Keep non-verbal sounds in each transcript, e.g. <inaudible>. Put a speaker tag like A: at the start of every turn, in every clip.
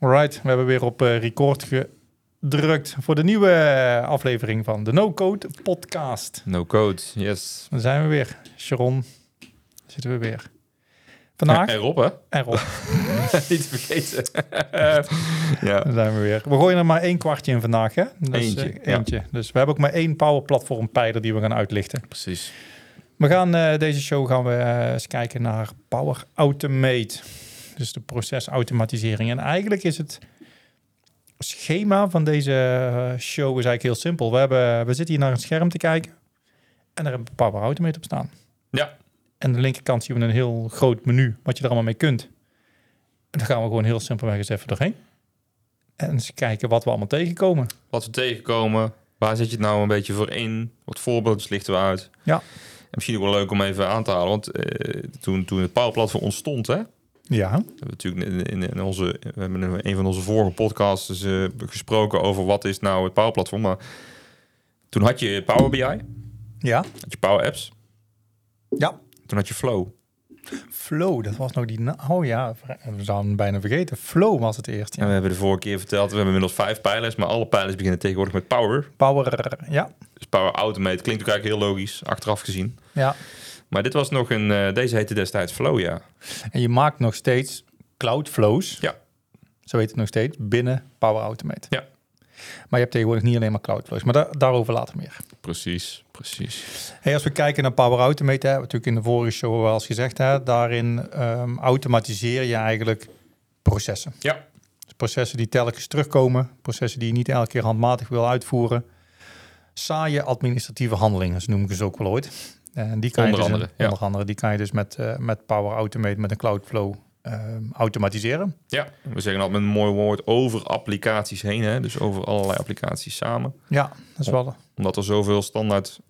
A: Alright, we hebben weer op eh, record gedrukt voor de nieuwe eh, aflevering van de No Code Podcast.
B: No code, yes.
A: Dan zijn we weer. Sharon, zitten we weer. Vandaag
B: En Rob, hè?
A: en Rob,
B: <laughs> Niet te vergeten.
A: eh,
B: <laughs> ja.
A: dan zijn we weer. We gooien er maar één kwartje in vandaag, hè? Dus, eh,
B: Eentje, ja.
A: eentje. Dus we hebben ook maar één Power Platform pijler die we gaan uitlichten.
B: Precies.
A: We gaan eh, deze show gaan we eh, eens kijken naar Power Automate. Dus de procesautomatisering. En eigenlijk is het schema van deze eh, show is eigenlijk heel simpel. We, hebben, we zitten hier naar een scherm te kijken. En daar hebben we Power Automate op staan.
B: Ja.
A: En aan de linkerkant zien we een heel groot menu. Wat je er allemaal mee kunt. En daar gaan we gewoon heel simpelweg eens even doorheen. En eens kijken wat we allemaal tegenkomen.
B: Wat we tegenkomen, waar zit je het nou een beetje voor in? Wat voorbeeldjes lichten we uit?
A: Ja.
B: En misschien ook wel leuk om even aan te halen, want eh, toen, toen het Powerplatform ontstond, hè?
A: Ja.
B: We hebben natuurlijk in, in- in onze, we hebben in een van onze vorige podcasts dus, eh, gesproken over wat is nou het Power Platform. Maar toen had je Power BI, had
A: Ja.
B: je Power Apps,
A: Ja.
B: toen had je Flow.
A: Flow, dat was nou die... na- oh ja, we zouden hem bijna vergeten. Flow was het eerst.
B: En we hebben de vorige keer verteld, we hebben inmiddels vijf pijlers, maar alle pijlers beginnen tegenwoordig met Power.
A: Power, ja.
B: Dus Power Automate klinkt ook eigenlijk heel logisch, achteraf gezien.
A: ja.
B: Maar dit was nog een, eh, deze heette destijds Flow, ja.
A: En je maakt nog steeds cloudflows.
B: Ja.
A: Zo heet het nog steeds, binnen Power Automate.
B: Ja.
A: Maar je hebt tegenwoordig niet alleen maar cloudflows, maar da- daarover later meer.
B: Precies, precies.
A: Hey, als we kijken naar Power Automate, hè, hebben we natuurlijk in de vorige show wel eens gezegd, hè, daarin ehm, automatiseer je eigenlijk processen.
B: Ja.
A: Dus processen die telkens terugkomen, processen die je niet elke keer handmatig wil uitvoeren. Saaie administratieve handelingen, zo noem ik ze ook wel ooit. En die kan
B: Onder
A: je dus,
B: andere, ja.
A: onder andere, die kan je dus met, eh, met Power Automate, met een Cloudflow ehm, automatiseren.
B: Ja, we zeggen altijd met een mooi woord over applicaties heen, hè? dus over allerlei applicaties samen.
A: Ja, dat is wel
B: Omdat er zoveel standaard
A: Eh,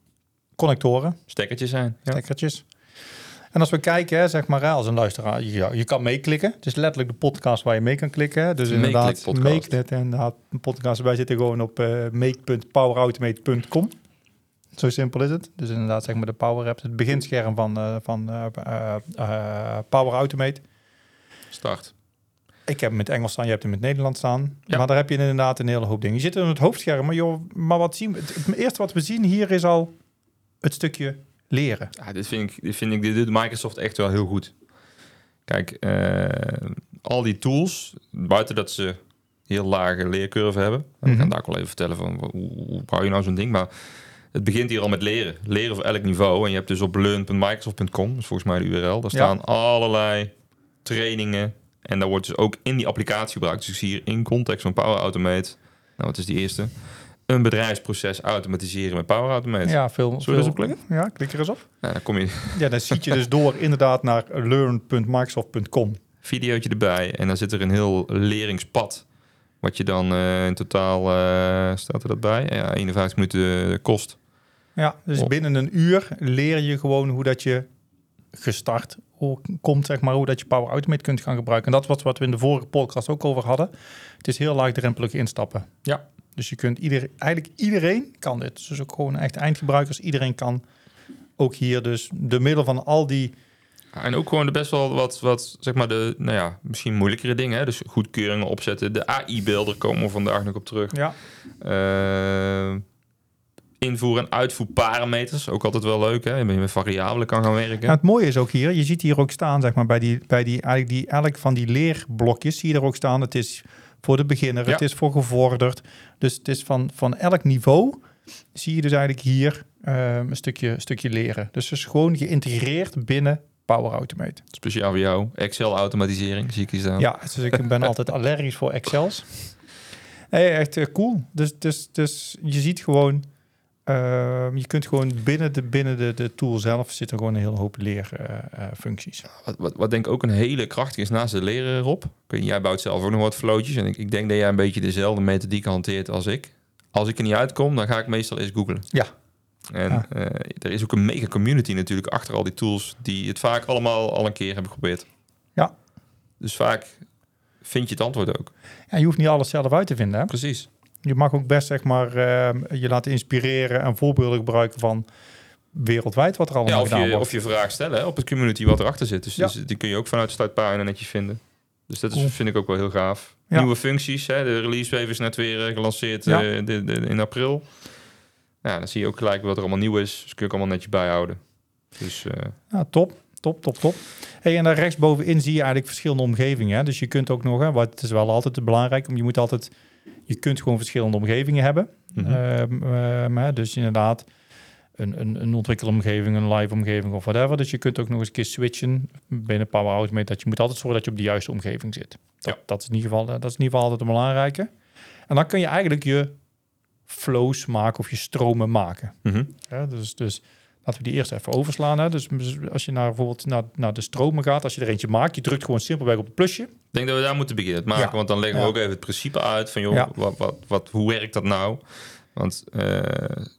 A: connectoren,
B: stekkertjes zijn. Ja.
A: stekkertjes. En als we kijken, hè, zeg maar, hè, als een luisteraar, je, je kan meeklikken. Het is letterlijk de podcast waar je mee kan klikken. hè. Dus inderdaad,
B: Meeklikpodcast.
A: make dit inderdaad een podcast. Wij zitten gewoon op eh make.powerautomate.com. Zo simpel is het. Dus inderdaad, zeg maar de Power App, het beginscherm van, eh, van eh, eh, eh, Power Automate.
B: Start.
A: Ik heb hem in het Engels staan, je hebt hem in het Nederlands staan.
B: Ja.
A: Maar daar heb je inderdaad een hele hoop dingen. Je zit in het hoofdscherm, maar, joh, maar wat zien we? Het, het eerste wat we zien hier is al het stukje leren.
B: Ja, dit vind ik, dit vind ik, dit doet Microsoft echt wel heel goed. Kijk, eh, al die tools, buiten dat ze heel lage leercurve hebben. En We gaan
A: Mhm.
B: daar ook wel even vertellen van hoe, hoe hoe bouw je nou zo'n ding. Maar het begint hier al met leren. Leren voor elk niveau. En je hebt dus op learn.microsoft.com, dat is volgens mij de URL, daar
A: Ja.
B: staan allerlei trainingen. En daar wordt dus ook in die applicatie gebruikt. Dus ik zie hier in context van Power Automate, nou wat is die eerste? Een bedrijfsproces automatiseren met Power Automate.
A: Ja, veel.
B: Zullen we
A: veel-
B: er eens op klikken?
A: Ja, klik er eens op.
B: Nou, dan kom je
A: Ja, dan ziet je dus door inderdaad naar learn.microsoft.com.
B: videootje erbij. En dan zit er een heel leringspad. Wat je dan eh, in totaal, eh, staat er dat bij? Ja, 51 minuten eh, kost.
A: Ja, dus
B: Op.
A: binnen een uur leer je gewoon hoe dat je gestart hoe- komt, zeg maar, hoe dat je Power Automate kunt gaan gebruiken. En dat was wat we in de vorige podcast ook over hadden. Het is heel laagdrempelig instappen.
B: Ja.
A: Dus je kunt ieder, eigenlijk iedereen kan dit. Dus ook gewoon echt eindgebruikers, iedereen kan ook hier dus door middel van al die
B: En ook gewoon de best wel wat, wat, zeg maar, de, nou ja, misschien moeilijkere dingen. Hè? Dus goedkeuringen opzetten. De AI-beelden komen we vandaag nog op terug.
A: ja,
B: Eh, invoer- en uitvoerparameters. Ook altijd wel leuk, hè? Je met variabelen kan gaan werken.
A: Ja, Nou, het mooie is ook hier, je ziet hier ook staan, zeg maar, bij die, bij die, eigenlijk die, elk van die leerblokjes zie je er ook staan. Het is voor de beginner,
B: Ja.
A: het is voor gevorderd. Dus het is van, van elk niveau zie je dus eigenlijk hier ehm, een stukje, stukje leren. Dus het is gewoon geïntegreerd binnen Power Automate.
B: Speciaal voor jou. Excel-automatisering zie ik hier staan.
A: Ja, dus ik <laughs> ben altijd allergisch voor Excels. Nee, echt eh, cool. Dus, dus, dus je ziet gewoon, ehm, je kunt gewoon binnen, de, binnen de, de tool zelf zit er gewoon een hele hoop leerfuncties.
B: Wat, wat, wat denk ik ook een hele krachtige is naast het leren, Rob. Ik weet niet, jij bouwt zelf ook nog wat flootjes. En ik, ik denk dat jij een beetje dezelfde methodiek hanteert als ik. Als ik er niet uitkom, dan ga ik meestal eens googlen.
A: Ja.
B: En
A: Ja.
B: eh, er is ook een mega community natuurlijk achter al die tools... die het vaak allemaal al een keer hebben geprobeerd.
A: Ja.
B: Dus vaak vind je het antwoord ook.
A: en je hoeft niet alles zelf uit te vinden. Hè?
B: Precies.
A: Je mag ook best zeg maar, ehm, je laten inspireren en voorbeelden gebruiken van wereldwijd wat er allemaal
B: Ja, of,
A: gedaan
B: je,
A: wordt.
B: of je vraag stellen hè, op het community wat erachter zit. Dus,
A: Ja.
B: dus die kun je ook vanuit de startpagina netjes vinden. Dus dat is,
A: Cool.
B: vind ik ook wel heel gaaf.
A: Ja.
B: Nieuwe functies. Hè, de release wave is net weer eh, gelanceerd
A: Ja.
B: eh, de- de- in april. Ja, dan zie je ook gelijk wat er allemaal nieuw is. Dus kun je ook allemaal netjes bijhouden. Dus eh,
A: Ja, top, top, top, top. Hey, en daar rechtsbovenin zie je eigenlijk verschillende omgevingen. Hè? Dus je kunt ook nog, hè, wat het is wel altijd belangrijk, om je moet altijd, je kunt gewoon verschillende omgevingen hebben.
B: Mhm.
A: Ehm, ehm, hè, dus inderdaad, een, een, een ontwikkelomgeving, een live omgeving of whatever. Dus je kunt ook nog eens een keer switchen binnen Power Automate. Dat je moet altijd zorgen dat je op de juiste omgeving zit. Dat,
B: Ja.
A: dat, is, in ieder geval, eh, dat is in ieder geval altijd een belangrijke. En dan kun je eigenlijk je flows maken of je stromen maken.
B: mhm.
A: Ja, dus, dus laten we die eerst even overslaan. Hè. Dus als je naar, bijvoorbeeld naar, naar de stromen gaat, als je er eentje maakt, je drukt gewoon simpelweg op het plusje.
B: ik denk dat we daar moeten beginnen. Het maken,
A: Ja.
B: want dan leggen we
A: Ja.
B: ook even het principe uit. Van joh,
A: Ja.
B: wat, wat, wat, hoe werkt dat nou? Want eh,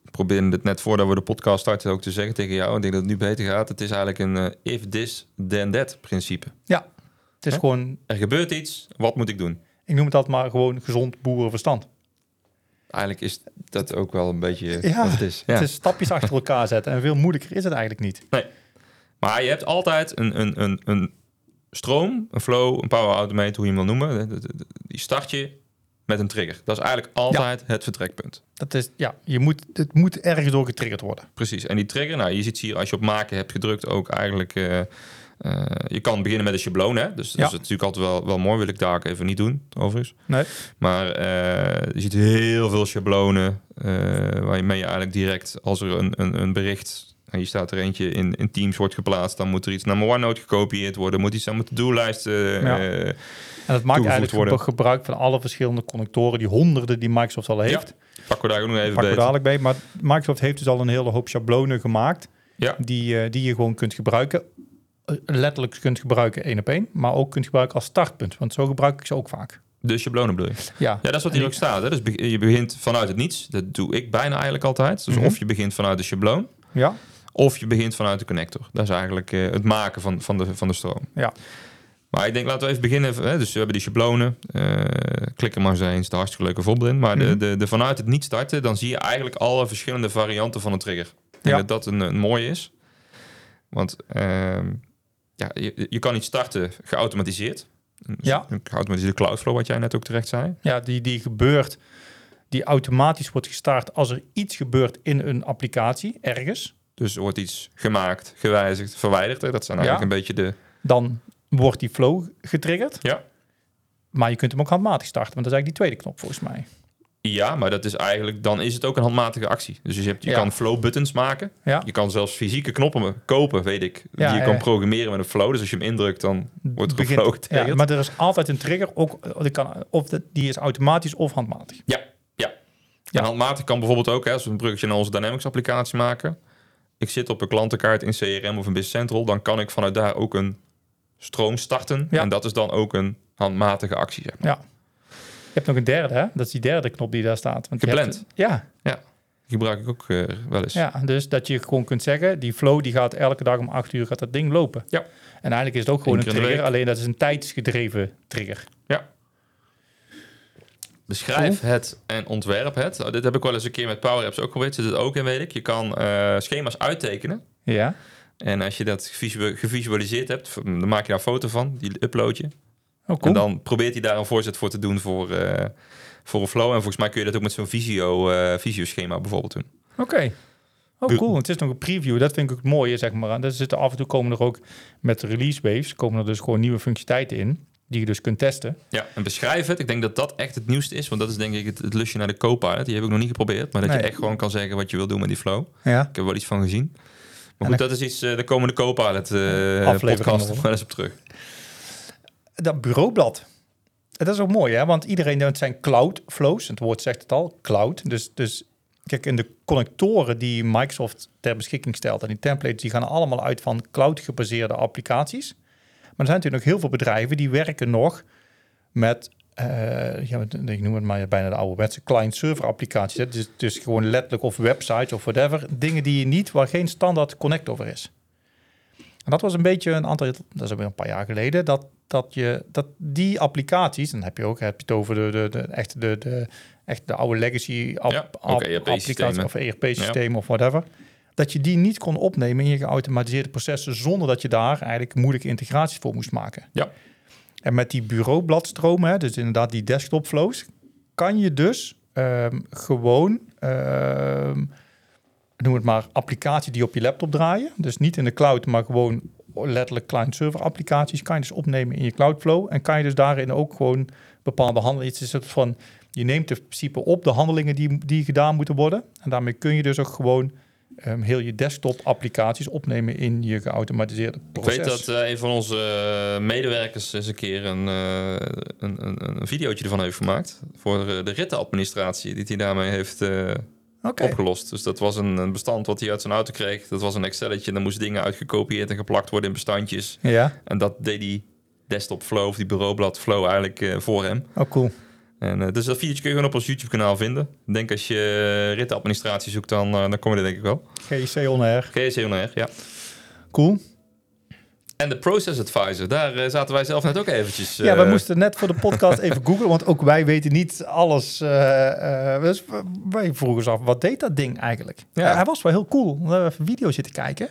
B: ik probeerde het net voordat we de podcast starten ook te zeggen tegen jou. Ik denk dat het nu beter gaat. Het is eigenlijk een eh, if this, then that principe.
A: Het is
B: Hè?
A: gewoon,
B: er gebeurt iets, wat moet ik doen?
A: ik noem het altijd maar gewoon gezond boerenverstand.
B: Eigenlijk is dat ook wel een beetje
A: Ja,
B: wat het is. Ja.
A: Het is stapjes achter elkaar zetten en veel moeilijker is het eigenlijk niet.
B: Maar je hebt altijd een, een, een, een stroom, een flow, een power automate, hoe je hem wil noemen. De- de- de- Die start je met een trigger. Dat is eigenlijk altijd het vertrekpunt.
A: Dat is, ja, je moet, het moet ergens door getriggerd worden.
B: Precies. En die trigger, nou, je ziet hier als je op maken hebt gedrukt ook eigenlijk... eh, eh, je kan beginnen met een schabloon, hè? Dus
A: Ja.
B: dat is natuurlijk altijd wel, wel mooi. Wil ik daar ook even niet doen, overigens.
A: Nee.
B: Maar eh, je ziet heel veel schablonen eh waarmee je eigenlijk direct als er een, een, een bericht... En hier staat er eentje in, in Teams wordt geplaatst. Dan moet er iets naar mijn OneNote gekopieerd worden. Moet iets aan mijn to-do-lijst. eh,
A: Ja.
B: eh,
A: En dat maakt
B: Toegevoegd
A: eigenlijk
B: worden.
A: gebru- gebruik van alle verschillende connectoren, die honderden die Microsoft al heeft.
B: pakken we daar ook nog even
A: Pak
B: bij.
A: er dadelijk mee. Maar Microsoft heeft dus al een hele hoop schablonen gemaakt.
B: Ja.
A: Die, eh, die je gewoon kunt gebruiken. Eh, Letterlijk kunt gebruiken één op één. Maar ook kunt gebruiken als startpunt. Want zo gebruik ik ze ook vaak.
B: De schablonen bedoel je?
A: Ja.
B: Ja, dat is wat hier ook staat. Hè? Dus be- je begint vanuit het niets. Dat doe ik bijna eigenlijk altijd. Dus
A: Mhm.
B: of je begint vanuit de schabloon...
A: Ja.
B: Of je begint vanuit de connector. Dat is eigenlijk eh, het maken van, van, de, van de stroom.
A: Ja.
B: Maar ik denk, laten we even beginnen. Hè? Dus we hebben die schablonen. Eh, klik er maar eens heen, is een hartstikke leuke voorbeeld in. Maar
A: Mhm.
B: de, de, de vanuit het niet starten, dan zie je eigenlijk alle verschillende varianten van een trigger. Ik denk
A: Ja.
B: dat dat een, een mooie is. Want ehm, ja, je, je kan niet starten geautomatiseerd. Een-
A: Ja.
B: Een geautomatiseerde cloudflow, wat jij net ook terecht zei.
A: Ja, die, die gebeurt, die automatisch wordt gestart als er iets gebeurt in een applicatie, ergens.
B: Dus er wordt iets gemaakt, gewijzigd, verwijderd. Hè? Dat zijn eigenlijk een beetje de...
A: Dan wordt die flow getriggerd.
B: Ja.
A: Maar je kunt hem ook handmatig starten, want dat is eigenlijk die tweede knop volgens mij.
B: Ja, maar dat is eigenlijk, dan is het ook een handmatige actie. Dus je, hebt, je
A: Ja.
B: kan flow buttons maken.
A: Ja.
B: Je kan zelfs fysieke knoppen kopen, weet ik.
A: Ja,
B: die je
A: ja,
B: kan
A: ja.
B: programmeren met een flow. Dus als je hem indrukt, dan wordt er
A: Begint-
B: een flow getriggerd.
A: ja, maar er is altijd een trigger, ook, eh, die kan, of dat- die is automatisch of handmatig.
B: En handmatig kan bijvoorbeeld ook, hè, als we een bruggetje naar onze Dynamics applicatie maken. Ik zit op een klantenkaart in CRM of een Business Central. Dan kan ik vanuit daar ook een stroom starten.
A: Ja.
B: En dat is dan ook een handmatige actie, zeg maar.
A: Je hebt nog een derde, hè? Dat is die derde knop die daar staat. Want je
B: Gepland.
A: hebt- ja,
B: Die gebruik ik ook eh, wel eens.
A: ja, dus dat je gewoon kunt zeggen, die flow die gaat elke dag om 8 uur gaat dat ding lopen.
B: Ja.
A: En eigenlijk is het ook gewoon
B: Eén
A: een
B: keer in de
A: trigger, alleen dat is een tijdsgedreven trigger.
B: Beschrijf het en ontwerp het. Oh, dit heb ik wel eens een keer met Power Apps ook geprobeerd. Zit het ook in, weet ik. Je kan eh, schema's uittekenen.
A: Ja. Oh,
B: En als je dat gevisu- gevisualiseerd hebt, v- dan maak je daar een foto van, die upload je.
A: Oh, cool.
B: En dan probeert hij daar een voorzet voor te doen voor, eh, voor een flow. En volgens mij kun je dat ook met zo'n visio, eh visio-schema bijvoorbeeld doen.
A: Oké. Oh,
B: Bu-
A: cool. Het is nog een preview. Dat vind ik ook het mooie, zeg maar. En er zitten af en toe komen er ook met de release waves, komen er dus gewoon nieuwe functionaliteiten in, die je dus kunt testen.
B: Ja, en beschrijf het. Ik denk dat dat echt het nieuwste is. Want dat is denk ik het, het lusje naar de co Die heb ik nog niet geprobeerd. Maar dat je
A: Nee.
B: echt gewoon kan zeggen wat je wil doen met die flow.
A: Ja.
B: Ik heb er wel iets van gezien. Maar goed, dat is iets, eh, de komende co-pilot eh,
A: Aflevering
B: podcast.
A: nog,
B: Daar
A: hoor.
B: wel eens op terug.
A: Dat bureaublad. Dat is ook mooi, hè? Want iedereen, het zijn cloud flows. Het woord zegt het al, cloud. Dus, dus kijk, in de connectoren die Microsoft ter beschikking stelt... en die templates, die gaan allemaal uit van cloud-gebaseerde applicaties. Maar er zijn natuurlijk ook heel veel bedrijven die werken nog met... eh, ja, met- ik noem het maar bijna de ouderwetse client-server applicaties. hè. Dus, dus gewoon letterlijk of websites of whatever. Dingen die je niet, waar geen standaard connect over is. En dat was een beetje een aantal, dat is alweer een paar jaar geleden, dat, dat, je, dat die applicaties, dan heb je ook heb je het over de, de, de, echt, de, de, echt de oude legacy app,
B: Ja,
A: app-
B: ook ERP-systemen.
A: applicaties of ERP-systemen of whatever, dat je die niet kon opnemen in je geautomatiseerde processen zonder dat je daar eigenlijk moeilijke integraties voor moest maken.
B: Ja.
A: En met die bureaubladstromen, hè, dus inderdaad die desktop flows, kan je dus ehm, gewoon, ehm, noem het maar, applicatie die op je laptop draaien. Dus niet in de cloud, maar gewoon letterlijk client-server applicaties kan je dus opnemen in je Cloudflow. En kan je dus daarin ook gewoon bepaalde handelingen. Het is een soort van, je neemt in principe op de handelingen die, die gedaan moeten worden. En daarmee kun je dus ook gewoon ehm, heel je desktop applicaties opnemen in je geautomatiseerde proces.
B: Ik weet dat eh, een van onze eh, medewerkers eens een keer een, eh, een, een, een videootje ervan heeft gemaakt. Voor eh, de rittenadministratie, die hij daarmee heeft eh,
A: Oké.
B: opgelost. Dus dat was een, een bestand wat hij uit zijn auto kreeg. Dat was een Excelletje en daar moesten dingen uitgekopieerd en geplakt worden in bestandjes.
A: Ja,
B: En dat deed die desktop flow of die bureaublad flow eigenlijk eh, voor hem.
A: oh cool.
B: En, eh, dus dat videootje kun je gewoon op ons YouTube kanaal vinden. Ik denk als je eh, rittenadministratie zoekt, dan, eh, dan kom je er denk ik wel.
A: GIC on air.
B: GSCNR, ja.
A: Cool.
B: En de Process Advisor, daar eh, zaten wij zelf net ook eventjes...
A: ja, we
B: eh,
A: moesten net voor de podcast
B: <laughs>
A: even googlen, want ook wij weten niet alles. eh, eh, dus w- wij vroegen ons af, wat deed dat ding eigenlijk?
B: Ja.
A: Eh, hij was wel heel cool. We hebben even video zitten kijken.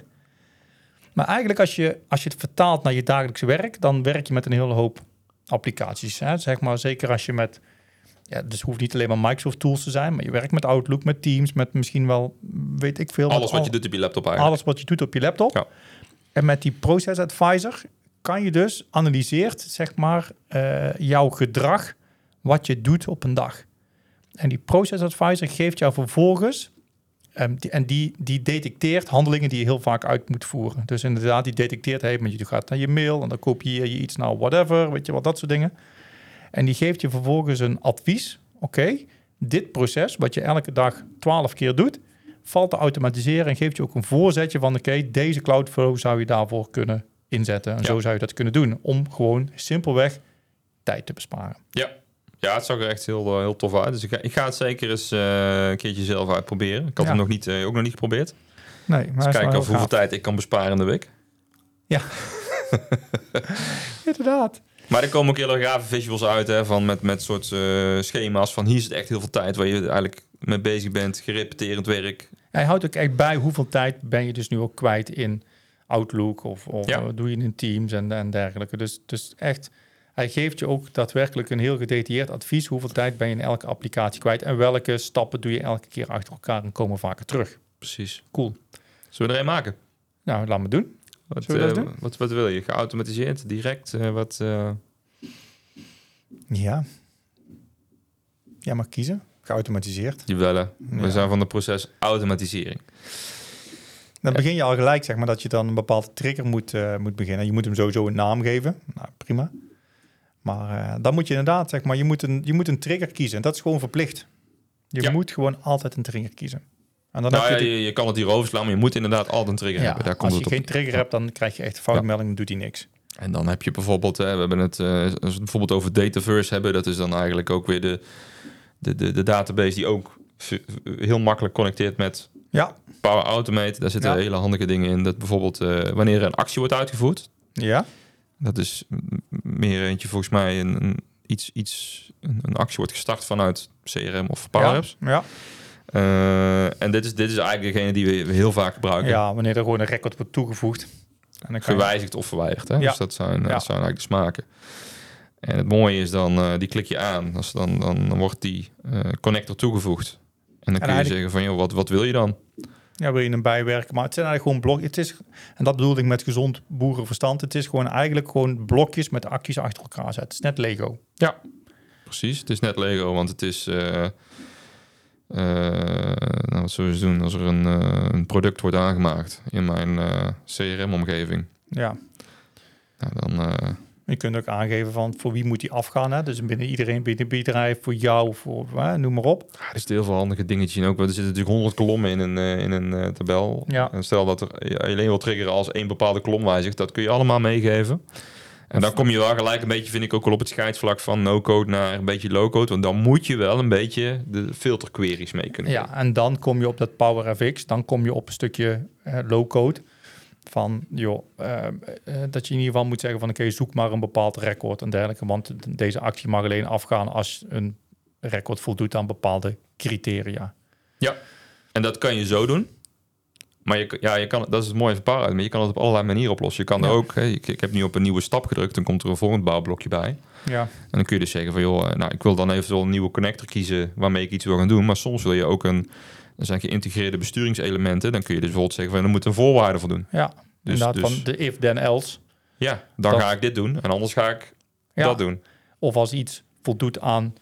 A: Maar eigenlijk als je, als je het vertaalt naar je dagelijkse werk, dan werk je met een hele hoop applicaties. Hè? Zeg maar, zeker als je met... Ja, dus het hoeft niet alleen maar Microsoft tools te zijn, maar je werkt met Outlook, met Teams, met misschien wel, weet ik veel.
B: Alles
A: met
B: wat
A: al-
B: je doet op je laptop eigenlijk.
A: Alles wat je doet op je laptop.
B: Ja.
A: En met die Process Advisor kan je dus analyseert, zeg maar, eh, jouw gedrag, wat je doet op een dag. En die Process Advisor geeft jou vervolgens, ehm, die- en die, die detecteert handelingen die je heel vaak uit moet voeren. Dus inderdaad, die detecteert, hey, maar je gaat naar je mail en dan kopieer je iets naar whatever, weet je wat, dat soort dingen. En die geeft je vervolgens een advies. Oké, dit proces, wat je elke dag twaalf keer doet, valt te automatiseren en geeft je ook een voorzetje van oké, deze Cloudflow zou je daarvoor kunnen inzetten. En
B: Ja.
A: zo zou je dat kunnen doen om gewoon simpelweg tijd te besparen.
B: Ja. ja, het zag er echt heel, eh, heel tof uit. Dus ik ga, ik ga het zeker eens eh, een keertje zelf uitproberen. Ik had
A: Ja.
B: hem nog niet, eh, ook nog niet geprobeerd. Dus
A: Nee, maar
B: kijken of hoeveel tijd ik kan besparen in de week.
A: Inderdaad.
B: Maar er komen ook heel erg gave visuals uit hè, van met, met soort eh, schema's. Van hier zit echt heel veel tijd waar je eigenlijk mee bezig bent. Gerepeterend werk.
A: Hij houdt ook echt bij hoeveel tijd ben je dus nu ook kwijt in Outlook of, of
B: Ja.
A: eh, doe je in Teams en, en dergelijke. Dus, dus echt, hij geeft je ook daadwerkelijk een heel gedetailleerd advies hoeveel tijd ben je in elke applicatie kwijt en welke stappen doe je elke keer achter elkaar en komen vaker terug.
B: Precies.
A: Cool.
B: Zullen we er een maken?
A: Nou, laat me doen.
B: Wat,
A: Zullen we dat
B: eh,
A: doen?
B: wat, wat wil je? Geautomatiseerd, direct? eh, wat, eh,
A: Ja. Jij mag kiezen. Geautomatiseerd.
B: die willen.
A: Ja.
B: We zijn van de proces automatisering.
A: Dan begin je al gelijk, zeg maar, dat je dan een bepaalde trigger moet, eh, moet beginnen. Je moet hem sowieso een naam geven. Nou, prima. Maar eh, dan moet je inderdaad, zeg maar, je moet, een, je moet een trigger kiezen. Dat is gewoon verplicht. Je
B: Ja.
A: moet gewoon altijd een trigger kiezen. En dan
B: Nou,
A: heb
B: ja,
A: je...
B: je,
A: de-
B: je kan het hier overslaan, maar je moet inderdaad altijd een trigger
A: Ja,
B: hebben. Daar komt
A: als
B: het
A: je
B: op.
A: geen trigger hebt, dan krijg je echt een foutmelding, dan doet hij niks.
B: En dan heb je bijvoorbeeld, hè, we hebben het eh, als we het bijvoorbeeld over Dataverse hebben, dat is dan eigenlijk ook weer de, de, de, de database die ook v- heel makkelijk connecteert met
A: Ja.
B: Power Automate. Daar zitten
A: Ja.
B: hele handige dingen in. Dat bijvoorbeeld eh, wanneer een actie wordt uitgevoerd,
A: Ja?
B: dat is m- meer eentje volgens mij een, een iets, iets, een, een actie wordt gestart vanuit CRM of Power
A: ja.
B: Apps.
A: Ja.
B: Eh, en dit is, dit is eigenlijk degene die we heel vaak gebruiken.
A: ja, wanneer er gewoon een record wordt toegevoegd. En dan kan je-
B: gewijzigd of verwijderd. Hè?
A: Ja.
B: Dus dat zijn,
A: Ja.
B: dat zijn eigenlijk de smaken. En het mooie is dan, eh, die klik je aan. Als dan, dan wordt die eh, connector toegevoegd. En dan kun je
A: eigenlijk-
B: zeggen van, joh, wat, wat wil je dan?
A: Ja, wil je hem bijwerken. Maar het zijn eigenlijk gewoon blokjes. Het is, en dat bedoelde ik met gezond boerenverstand. Het is gewoon eigenlijk gewoon blokjes met acties achter elkaar zetten. Het is net Lego.
B: Precies, het is net Lego, want het is... eh, eh, nou, wat zullen we eens doen als er een, eh, een product wordt aangemaakt in mijn eh, CRM-omgeving?
A: Ja.
B: Nou, dan eh,
A: Je kunt ook aangeven van voor wie moet die afgaan. Hè? Dus binnen iedereen, binnen het bedrijf, voor jou, voor hè, noem maar op.
B: ja, Ah, er zitten heel veel handige dingetjes in ook. want Er zitten natuurlijk honderd kolommen in een, eh, in een eh, tabel.
A: Ja.
B: En stel dat er je alleen wil triggeren als één bepaalde kolom wijzigt, dat kun je allemaal meegeven. En dan kom je wel gelijk een beetje, vind ik ook wel op het scheidsvlak van no-code naar een beetje low-code. Want dan moet je wel een beetje de filterqueries mee kunnen doen.
A: Ja, en dan kom je op dat PowerFX. Dan kom je op een stukje eh, low-code. Van, joh, eh, eh, dat je in ieder geval moet zeggen van... oké, zoek maar een bepaald record en dergelijke. Want deze actie mag alleen afgaan als een record voldoet aan bepaalde criteria.
B: En dat kan je zo doen. Maar je, ja, je kan, dat is het mooie van Parad. Maar je kan het op allerlei manieren oplossen. Je kan er
A: Ja.
B: ook, hè, ik, ik heb nu op een nieuwe stap gedrukt. Dan komt er een volgend bouwblokje bij.
A: Ja,
B: En dan kun je dus zeggen van, joh, eh, nou, ik wil dan eventueel een nieuwe connector kiezen waarmee ik iets wil gaan doen. Maar soms wil je ook een, er zijn geïntegreerde besturingselementen. Dan kun je dus bijvoorbeeld zeggen van, er moet een voorwaarde voor doen.
A: ja.
B: Dus,
A: inderdaad
B: dus
A: van de if, then, else.
B: ja, dan
A: dat-
B: ga ik dit doen. En anders ga ik
A: Ja.
B: dat doen.
A: Of als iets voldoet aan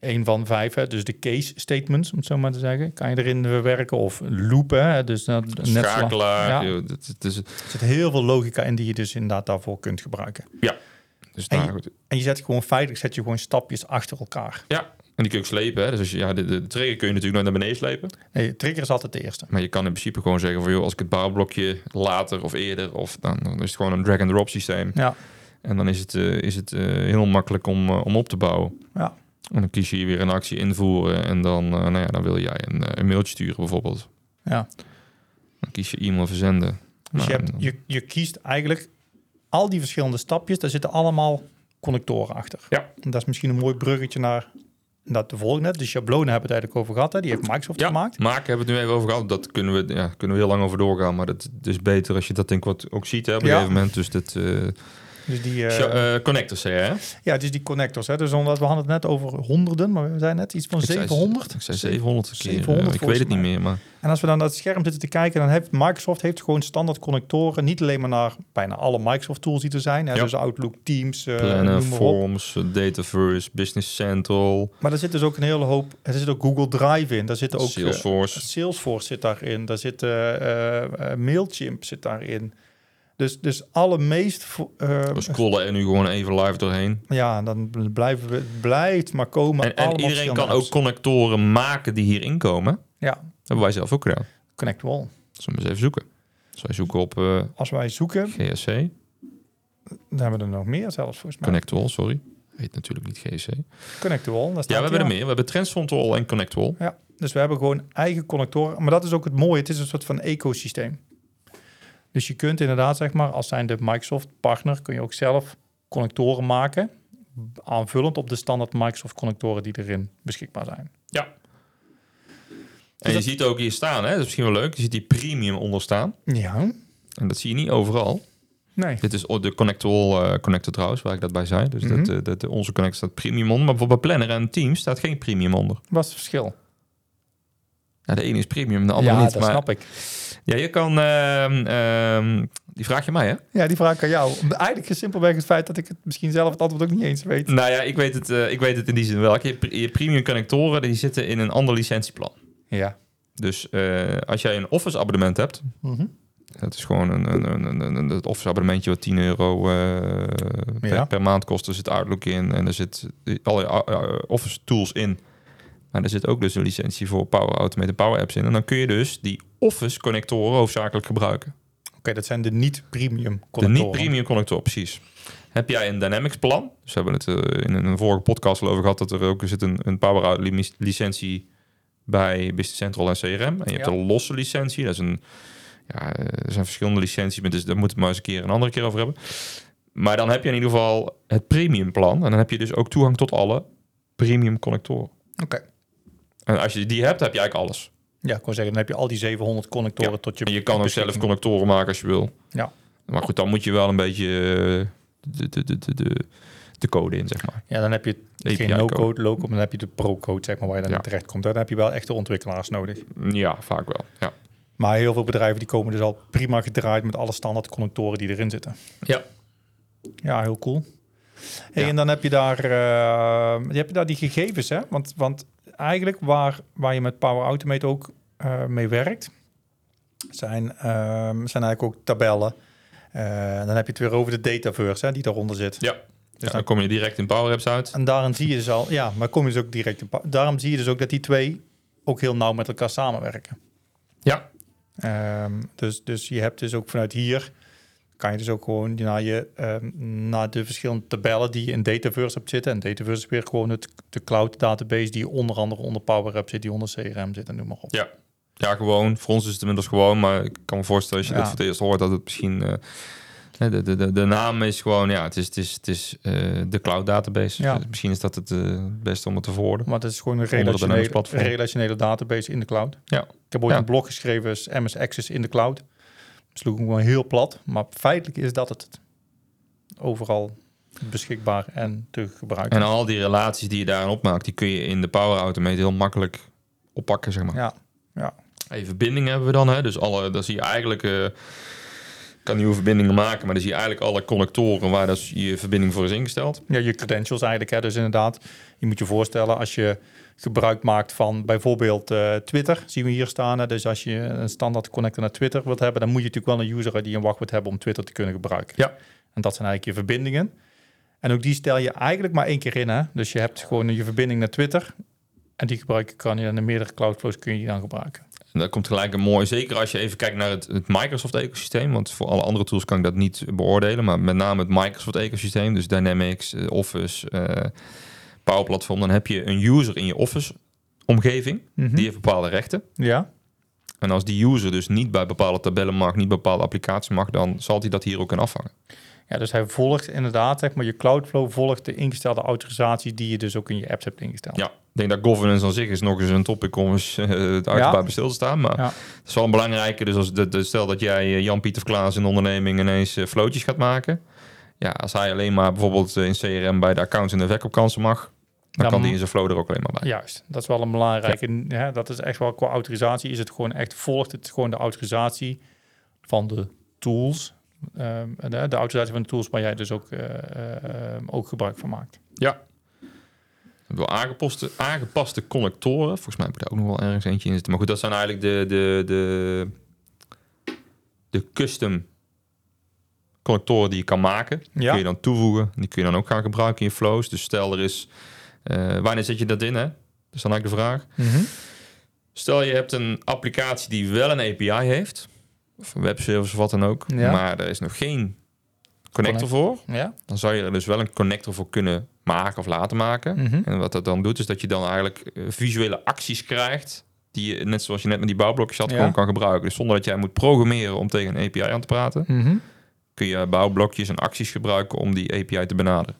A: een van vijf, hè, dus de case statements, om het zo maar te zeggen. Kan je erin verwerken of loopen. Hè, dus dat, net zo lang-
B: Schakelaar.
A: Ja.
B: joh, dat- dat is-
A: Er zit heel veel logica in die je dus inderdaad daarvoor kunt gebruiken.
B: dus
A: En
B: nou,
A: je-
B: goed.
A: En je zet gewoon feitelijk zet je gewoon stapjes achter elkaar.
B: En die kun je ook slepen. Hè? Dus als je, ja, de, de trigger kun je natuurlijk naar beneden slepen.
A: Nee, trigger is altijd de eerste.
B: Maar je kan in principe gewoon zeggen van joh, als ik het bouwblokje later of eerder of dan, dan is het gewoon een drag-and-drop systeem.
A: Ja.
B: En dan is het, eh, is het eh, heel makkelijk om, eh, om op te bouwen.
A: Ja.
B: En dan kies je hier weer een actie invoeren en dan, eh, nou ja, dan wil jij een, eh, een mailtje sturen bijvoorbeeld.
A: Ja.
B: Dan kies je e-mail verzenden.
A: Dus
B: Nou,
A: je, hebt,
B: en dan-
A: je, je kiest eigenlijk al die verschillende stapjes, daar zitten allemaal connectoren achter.
B: Ja.
A: En dat is misschien een mooi bruggetje naar, naar de volgende. De schablonen hebben we het eigenlijk over gehad, hè? die heeft Microsoft
B: Ja,
A: gemaakt.
B: maken hebben we het nu even over gehad. Dat kunnen we, ja, kunnen we heel lang over doorgaan. Maar dat is beter als je dat denk ik wat ook ziet hè, op een
A: Ja.
B: gegeven moment. Dus dat, eh,
A: Dus die, eh,
B: scha- eh, connectors, hè? Ik
A: ja, dus die connectors. Hè? Dus omdat we hadden het net over honderden, maar we zijn net iets van
B: zei-
A: 700.
B: Ik zei 700 keer.
A: 700
B: ik weet
A: volgens
B: het niet
A: mij.
B: meer, maar...
A: En als we dan naar het scherm zitten te kijken, dan heeft Microsoft heeft gewoon standaard connectoren. Niet alleen maar naar bijna alle Microsoft tools die er zijn. Hè,
B: Ja.
A: Dus Outlook, Teams, eh,
B: Plannen,
A: noem maar op.
B: Forms, Dataverse, Business Central,
A: Maar er zit dus ook een hele hoop. Er zit ook Google Drive in. Daar zitten ook eh,
B: Salesforce.
A: Salesforce zit daarin. Daar zit eh, eh, eh, Mailchimp zit daarin. Dus, dus alle meest. vo- eh,
B: We scrollen er nu gewoon even live doorheen.
A: ja, dan blijven we, het blijft maar komen.
B: En, en
A: allemaal
B: iedereen kan
A: verschillende
B: ook
A: apps.
B: connectoren maken die hierin komen.
A: Ja,
B: Dat hebben wij zelf ook gedaan.
A: Connect Wall.
B: Zullen we eens even zoeken. Dus wij zoeken op eh,
A: Als wij zoeken,
B: GSC,
A: dan hebben we er nog meer zelfs volgens mij.
B: Connectwall, sorry. Heet natuurlijk niet GSC.
A: Connect Wall. daar staat
B: Ja, we
A: hij
B: hebben er
A: al.
B: meer. We hebben Transfrontwall en Connectwall.
A: Ja, dus we hebben gewoon eigen connectoren. Maar dat is ook het mooie. Het is een soort van ecosysteem. Dus je kunt inderdaad, zeg maar, als zijnde Microsoft partner, kun je ook zelf connectoren maken. Aanvullend op de standaard Microsoft connectoren die erin beschikbaar zijn.
B: En je
A: dat-
B: ziet ook hier staan, hè? dat is misschien wel leuk. Je ziet die premium onder staan.
A: Ja.
B: En dat zie je niet overal.
A: Nee.
B: Dit is de Connectwall eh, connector trouwens, waar ik dat bij zei. Dus
A: Mhm.
B: dat, eh, dat, onze connector staat premium onder. Maar bijvoorbeeld bij Planner en Teams staat geen premium onder.
A: Wat is het verschil?
B: Ja, de ene is premium, de andere
A: ja,
B: niet.
A: dat
B: maar
A: snap ik.
B: ja, je kan. ehm, ehm, die vraag je mij, hè?
A: Ja, die vraag aan jou. Eigenlijk is simpelweg het feit dat ik het misschien zelf het antwoord ook niet eens weet.
B: Nou ja, ik weet het, eh, ik weet het in die zin wel. Je, hebt pre- je premium connectoren die zitten in een ander licentieplan.
A: Ja.
B: Dus eh, als jij een Office abonnement hebt,
A: Mhm.
B: dat is gewoon een, een, een, een- een- het Office abonnementje wat 10 euro eh, per,
A: Ja.
B: per maand kost. Er zit Outlook in en er zit eh, al je eh, Office tools in. Maar er zit ook dus een licentie voor Power Automate en Power Apps in. En dan kun je dus die Office connectoren hoofdzakelijk gebruiken.
A: Oké, dat zijn de niet-premium
B: De
A: connectoren.
B: niet-premium connector, precies. Heb jij een Dynamics plan? Dus we hebben het eh, in een vorige podcast al over gehad... dat er ook er zit een, een Power Out limi- licentie bij Business Central en CRM. En je hebt
A: Ja.
B: een losse licentie. Dat is een, ja, eh, er zijn verschillende licenties, maar dus daar moeten we maar eens een keer een andere keer over hebben. Maar dan heb je in ieder geval het premium plan. En dan heb je dus ook toegang tot alle premium connectoren.
A: Oké.
B: En als je die hebt, heb je eigenlijk alles.
A: Ja, ik kon zeggen, dan heb je al die 700 connectoren
B: Ja.
A: tot je
B: En je kan ook zelf
A: beschikking.
B: connectoren maken als je wil.
A: Ja.
B: Maar goed, dan moet je wel een beetje eh, de, de, de, de, de, de code in, zeg maar.
A: Ja, dan heb je geen
B: API code.
A: no-code, low-code, maar dan heb je de pro-code, zeg maar, waar je dan
B: Ja.
A: in terecht komt. Dan heb je wel echte ontwikkelaars nodig.
B: Mm, Ja, vaak wel. Ja.
A: Dus Maar heel veel bedrijven die komen dus al prima gedraaid met alle standaard connectoren die erin zitten.
B: Ja.
A: Ja, heel cool. Hey,
B: Ja.
A: En dan heb je daar, eh, je hebt daar die gegevens, hè? Want, want eigenlijk waar, waar je met Power Automate ook eh, eh, mee werkt, zijn, ehm, zijn eigenlijk ook tabellen. Eh, dan heb je het weer over de dataverse hè, die daaronder zit.
B: Ja. Dus dan kom je direct in Power Apps uit.
A: En daarin zie je dus al, ja, maar kom je dus ook direct in. pa- Daarom zie je dus ook dat die twee ook heel nauw met elkaar samenwerken.
B: Ja.
A: Ehm, dus, dus je hebt dus ook vanuit hier, kan je dus ook gewoon naar, je, ehm, naar de verschillende tabellen die je in Dataverse hebt zitten. En Dataverse is weer gewoon het, de cloud database die onder andere onder Power Apps zit, die onder CRM zit en noem maar op.
B: Ja, gewoon. Voor ons is het inmiddels gewoon, maar ik kan me voorstellen als
A: Ja.
B: je dat voor het eerst hoort, dat het misschien... eh, hè, de, de, de, de naam is gewoon, ja, het is, het is, het is eh, de cloud database.
A: Ja.
B: Dus misschien is dat het eh, beste om het te verwoorden.
A: Maar dat is gewoon een
B: Onder de Dynamics
A: relationele,
B: platform.
A: relationele database in de cloud.
B: Ja.
A: Ik heb ooit
B: Ja.
A: een blog geschreven, is MS Access in de cloud. Sloeg hem gewoon heel plat, maar feitelijk is dat het. Overal beschikbaar en te gebruiken.
B: En al die relaties die je daarin opmaakt, die kun je in de Power Automate heel makkelijk oppakken, zeg maar.
A: Ja.
B: Hey, verbindingen hebben we dan, hè? dus alle, dan zie je eigenlijk, eh, ik kan nieuwe verbindingen maken, maar dan zie je eigenlijk alle connectoren waar dus je verbinding voor is ingesteld.
A: Ja, je credentials eigenlijk. Hè. Dus inderdaad, je moet je voorstellen als je gebruik maakt van bijvoorbeeld eh, Twitter, zien we hier staan. Hè. Dus als je een standaard connector naar Twitter wilt hebben, dan moet je natuurlijk wel een user die een wachtwoord hebben om Twitter te kunnen gebruiken.
B: Ja.
A: En dat zijn eigenlijk je verbindingen. En ook die stel je eigenlijk maar één keer in. Hè. Dus je hebt gewoon je verbinding naar Twitter. En die gebruik kan je dan in meerdere cloudflows kun je die dan gebruiken.
B: En daar komt gelijk een mooi, zeker als je even kijkt naar het, het Microsoft-ecosysteem, want voor alle andere tools kan ik dat niet beoordelen, maar met name het Microsoft-ecosysteem, dus Dynamics, eh, Office, eh, Power Platform, dan heb je een user in je Office-omgeving,
A: Mhm.
B: die heeft bepaalde rechten.
A: Ja,
B: En als die user dus niet bij bepaalde tabellen mag, niet bij bepaalde applicaties mag, dan zal hij dat hier ook aan afvangen.
A: Ja, dus hij volgt inderdaad, zeg maar, je Cloudflow volgt de ingestelde autorisatie die je dus ook in je apps hebt ingesteld.
B: Ja, ik denk dat governance aan zich is nog eens een topic om eens eh, het
A: Ja.
B: uitgebreid bij stil te staan. Maar
A: Ja.
B: het is wel een belangrijke. Dus als de, de- stel dat jij eh, Jan-Pieter Klaas in de onderneming ineens eh, flootjes gaat maken. Ja, als hij alleen maar bijvoorbeeld eh, in CRM bij de accounts en de verkoopkansen mag, dan
A: Dan
B: kan die
A: m-
B: in zijn flow er ook alleen maar bij.
A: Ah, Juist, dat is wel een belangrijke. Hè, dat is echt wel qua autorisatie. Is het gewoon echt, volgt het gewoon de autorisatie van de tools. ehm, de, de autorisatie van de tools waar jij dus ook, eh, eh, ehm, ook gebruik van maakt.
B: Door aangepaste, aangepaste connectoren. Volgens mij heb ik daar ook nog wel ergens eentje in zitten. Maar goed, dat zijn eigenlijk de, de, de, de custom connectoren die je kan maken. Die
A: Ja.
B: kun je dan toevoegen. Die kun je dan ook gaan gebruiken in je flows. Dus stel er is... eh, wanneer zet je dat in, hè? Dat is dan eigenlijk de vraag. Stel je hebt een applicatie die wel een API heeft. Of een webservice of wat dan ook.
A: Ja.
B: Maar er is nog geen connector voor.
A: Ja.
B: Dan zou je er dus wel een connector voor kunnen maken of laten maken.
A: Mhm.
B: En wat dat dan doet, is dat je dan eigenlijk eh, visuele acties krijgt. Die je, net zoals je net met die bouwblokjes had,
A: Ja.
B: gewoon kan gebruiken. Dus zonder dat jij moet programmeren om tegen een API aan te praten,
A: Mhm.
B: kun je bouwblokjes en acties gebruiken om die API te benaderen.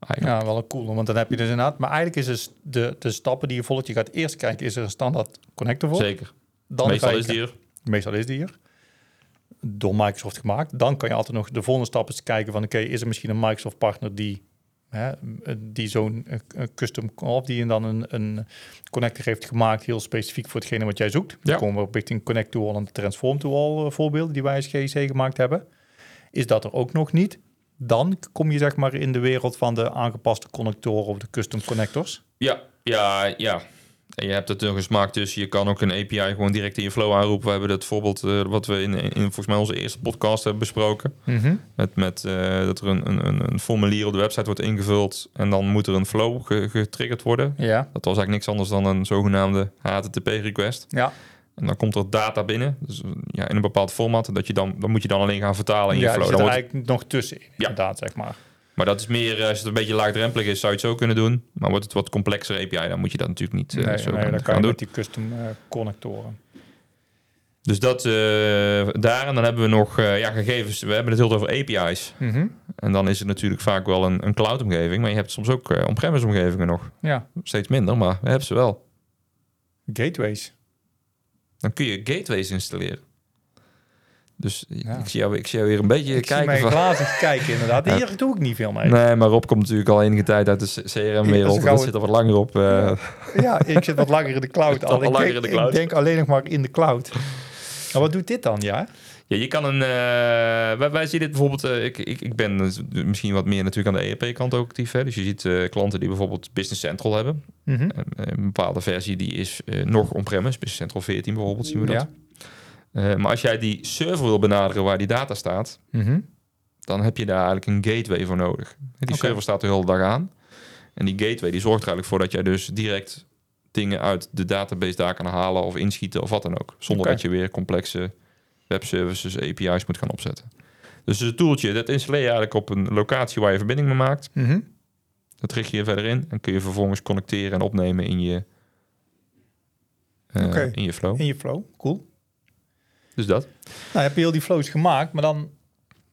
B: Eigenlijk.
A: Ja, wel een cool. Want dan heb je dus inderdaad. Maar eigenlijk is dus de, de stappen die je volgt. Je gaat eerst kijken, is er een standaard connector voor?
B: Zeker.
A: Dan
B: Meestal
A: ga je
B: is die er.
A: meestal is die hier, door Microsoft gemaakt. Dan kan je altijd nog de volgende stap eens kijken van, oké, is er misschien een Microsoft-partner die, hè, die zo'n eh, custom, of die je dan een, een connector heeft gemaakt, heel specifiek voor hetgene wat jij zoekt. Dan
B: Ja.
A: komen we op richting Connect to All en Transform to All eh, voorbeelden die wij als GEC gemaakt hebben. Is dat er ook nog niet? Dan kom je zeg maar in de wereld van de aangepaste connectoren of de custom connectors.
B: Ja, ja, ja. En je hebt het nog een smaak tussen. Je kan ook een API gewoon direct in je flow aanroepen. We hebben dat voorbeeld eh, wat we in, in volgens mij onze eerste podcast hebben besproken.
A: Mhm.
B: Met, met eh, dat er een, een, een- een formulier op de website wordt ingevuld. En dan moet er een flow ge- getriggerd worden.
A: Ja.
B: Dat was eigenlijk niks anders dan een zogenaamde HTTP-request.
A: Ja,
B: En dan komt er data binnen, dus eh, ja, in een bepaald format. Dat je dan, dan moet je dan alleen gaan vertalen in
A: ja
B: je
A: er
B: flow.
A: zit er
B: Dan wordt-
A: eigenlijk nog tussen, inderdaad, zeg maar.
B: Maar dat is meer, eh, als het een beetje laagdrempelig is, zou je het zo kunnen doen. Maar wordt het wat complexer API, dan moet je dat natuurlijk niet eh,
A: nee,
B: zo
A: nee, dan
B: gaan, gaan
A: kan je
B: doen.
A: met die custom eh, connectoren.
B: Dus dat eh, daar. En dan hebben we nog eh, ja, gegevens. We hebben het heel veel over API's.
A: Mhm,
B: En dan is het natuurlijk vaak wel een, een cloud-omgeving. Maar je hebt soms ook eh, on-premise omgevingen nog.
A: Ja,
B: Steeds minder, maar we hebben ze wel.
A: gateways.
B: Dan kun je gateways installeren. Dus
A: Ja.
B: ik, zie jou, ik zie jou weer een beetje
A: Ik zie
B: kijken.
A: mijn
B: Van,
A: glazig kijken <laughs> inderdaad.
B: Ja.
A: Hier doe ik niet veel mee.
B: nee, maar Rob komt natuurlijk al enige tijd uit
A: Ja,
B: de CRM-wereld.
A: ze
B: Dat
A: gaan we-
B: zit al wat langer op. eh,
A: Ja, ik zit wat <laughs> langer in de cloud.
B: zit
A: al.
B: wat
A: Ik
B: langer
A: denk-
B: in de cloud.
A: Ik denk alleen nog maar in de cloud. Maar wat doet dit dan, ja?
B: Ja, je kan een. eh, wij, wij zien dit bijvoorbeeld. eh, ik, ik, ik ben eh, misschien wat meer natuurlijk aan de ERP-kant ook actief. Hè? Dus je ziet eh, klanten die bijvoorbeeld Business Central hebben.
A: Mhm.
B: Een, een bepaalde versie die is eh, nog on-premise. Business Central 14 bijvoorbeeld zien we dat.
A: Ja.
B: Eh, maar als jij die server wil benaderen waar die data staat,
A: Mhm.
B: dan heb je daar eigenlijk een gateway voor nodig. Die
A: Oké.
B: server staat de hele dag aan. En die gateway die zorgt er eigenlijk voor dat jij dus direct dingen uit de database daar kan halen of inschieten of wat dan ook. Zonder
A: Oké.
B: dat je weer complexe webservices, API's moet gaan opzetten. Dus het toeltje, dat installeer je eigenlijk op een locatie waar je verbinding mee maakt.
A: Mhm.
B: Dat richt je verder in en kun je vervolgens connecteren en opnemen in je, eh,
A: Oké.
B: in je flow.
A: In je flow, cool.
B: Dus dat.
A: Nou, heb je heel die flows gemaakt, maar dan...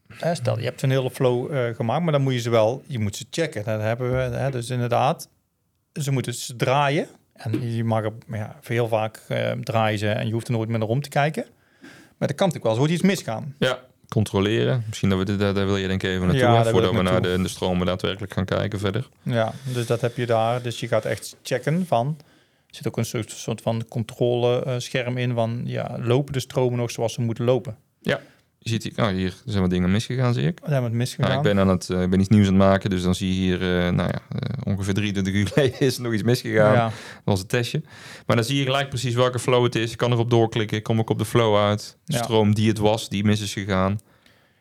A: Hè, stel, je hebt een hele flow eh, gemaakt, maar dan moet je ze wel... Je moet ze checken. Dat hebben we, hè, dus inderdaad, ze moeten ze draaien. En je mag er ja, heel vaak eh, draaien ze en je hoeft er nooit meer naar om te kijken. Maar dat kan natuurlijk wel eens ooit iets misgaan.
B: Ja, controleren. Misschien dat we dit, daar, daar wil je denk ik even naartoe,
A: Ja,
B: hè,
A: daar wil
B: voordat
A: ik
B: we naar
A: naartoe.
B: de, de stromen daadwerkelijk gaan kijken verder.
A: Ja, dus dat heb je daar. Dus je gaat echt checken van... Er zit ook een soort, soort van controlescherm eh, in van... Ja, lopen de stromen nog zoals ze moeten lopen?
B: Je ziet hier, oh, hier zijn wat dingen misgegaan, zie ik.
A: Daar hebben we het
B: Ja,
A: misgegaan.
B: ik ben, aan het, eh, ik ben iets nieuws aan het maken, dus dan zie je hier, eh, nou ja, eh, ongeveer 23 uur <laughs> geleden is er nog iets misgegaan.
A: Ja.
B: Dat was een testje. Maar dan zie je gelijk precies welke flow het is. Ik kan erop doorklikken, kom ik op de flow uit. De
A: Ja.
B: stroom die het was, die mis is gegaan.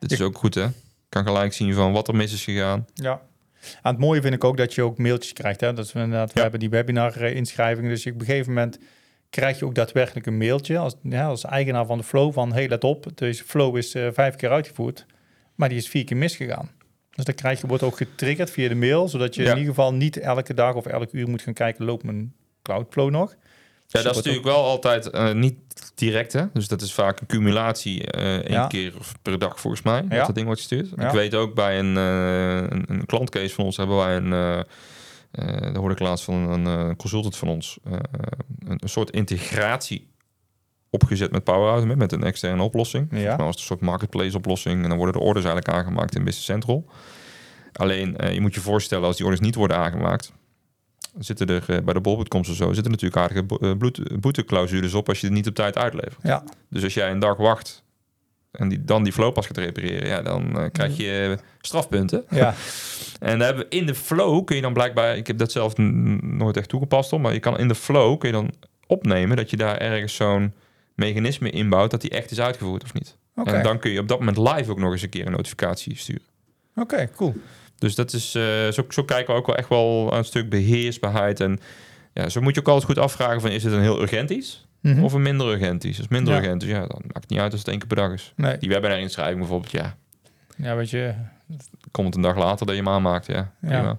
B: Dit is ook goed, hè? Ik kan gelijk zien van wat er mis is gegaan.
A: Ja. En het mooie vind ik ook dat je ook mailtjes krijgt. Hè? Dat we inderdaad, we
B: Ja.
A: hebben die webinar-inschrijvingen. Dus op een gegeven moment krijg je ook daadwerkelijk een mailtje als, ja, als eigenaar van de flow van... hey, let op, deze flow is eh, vijf keer uitgevoerd, maar die is vier keer misgegaan. Dus dan krijg je, wordt ook getriggerd via de mail... zodat je
B: Ja.
A: in ieder geval niet elke dag of elke uur moet gaan kijken... loopt mijn cloudflow nog? Dus
B: Ja,
A: Super,
B: dat is natuurlijk wel altijd eh, niet direct, hè? Dus dat is vaak een cumulatie eh één
A: Ja.
B: keer per dag, volgens mij,
A: Ja.
B: dat dat ding wordt gestuurd.
A: Ja.
B: Ik weet ook bij een, eh, een, een klantcase van ons hebben wij een... eh eh daar hoorde ik laatst van een eh, consultant van ons. eh, een, een soort integratie opgezet met Power Automate, met een externe oplossing.
A: Ja.
B: Maar als het een soort marketplace oplossing. En dan worden de orders eigenlijk aangemaakt in Business Central. Alleen, eh, je moet je voorstellen, als die orders niet worden aangemaakt, zitten er eh, bij de bolboetkomst of zo, zitten natuurlijk aardige bo- eh, bloed- boeteclausules op als je het niet op tijd uitlevert.
A: Ja.
B: Dus als jij een dag wacht en die, dan die flow pas gaat repareren, ja, dan eh, krijg je eh, strafpunten.
A: Ja.
B: En daar hebben we in de flow kun je dan blijkbaar, ik heb dat zelf n- nooit echt toegepast op, maar je kan in de flow kun je dan opnemen dat je daar ergens zo'n mechanisme inbouwt dat die echt is uitgevoerd of niet.
A: Oké,
B: En dan kun je op dat moment live ook nog eens een keer een notificatie sturen.
A: Oké, cool.
B: Dus dat is, eh, zo, zo kijken we ook wel echt wel aan een stuk beheersbaarheid. En ja, zo moet je ook altijd goed afvragen van, is het een heel urgent iets?
A: Mhm.
B: Of een minder urgent iets? Als het minder
A: Ja.
B: urgent is, ja, dan maakt het niet uit als het één keer per dag is.
A: Nee.
B: Die webinar-inschrijving bijvoorbeeld, ja,
A: Ja, weet je...
B: komt het een dag later dat je hem aanmaakt, ja. prima.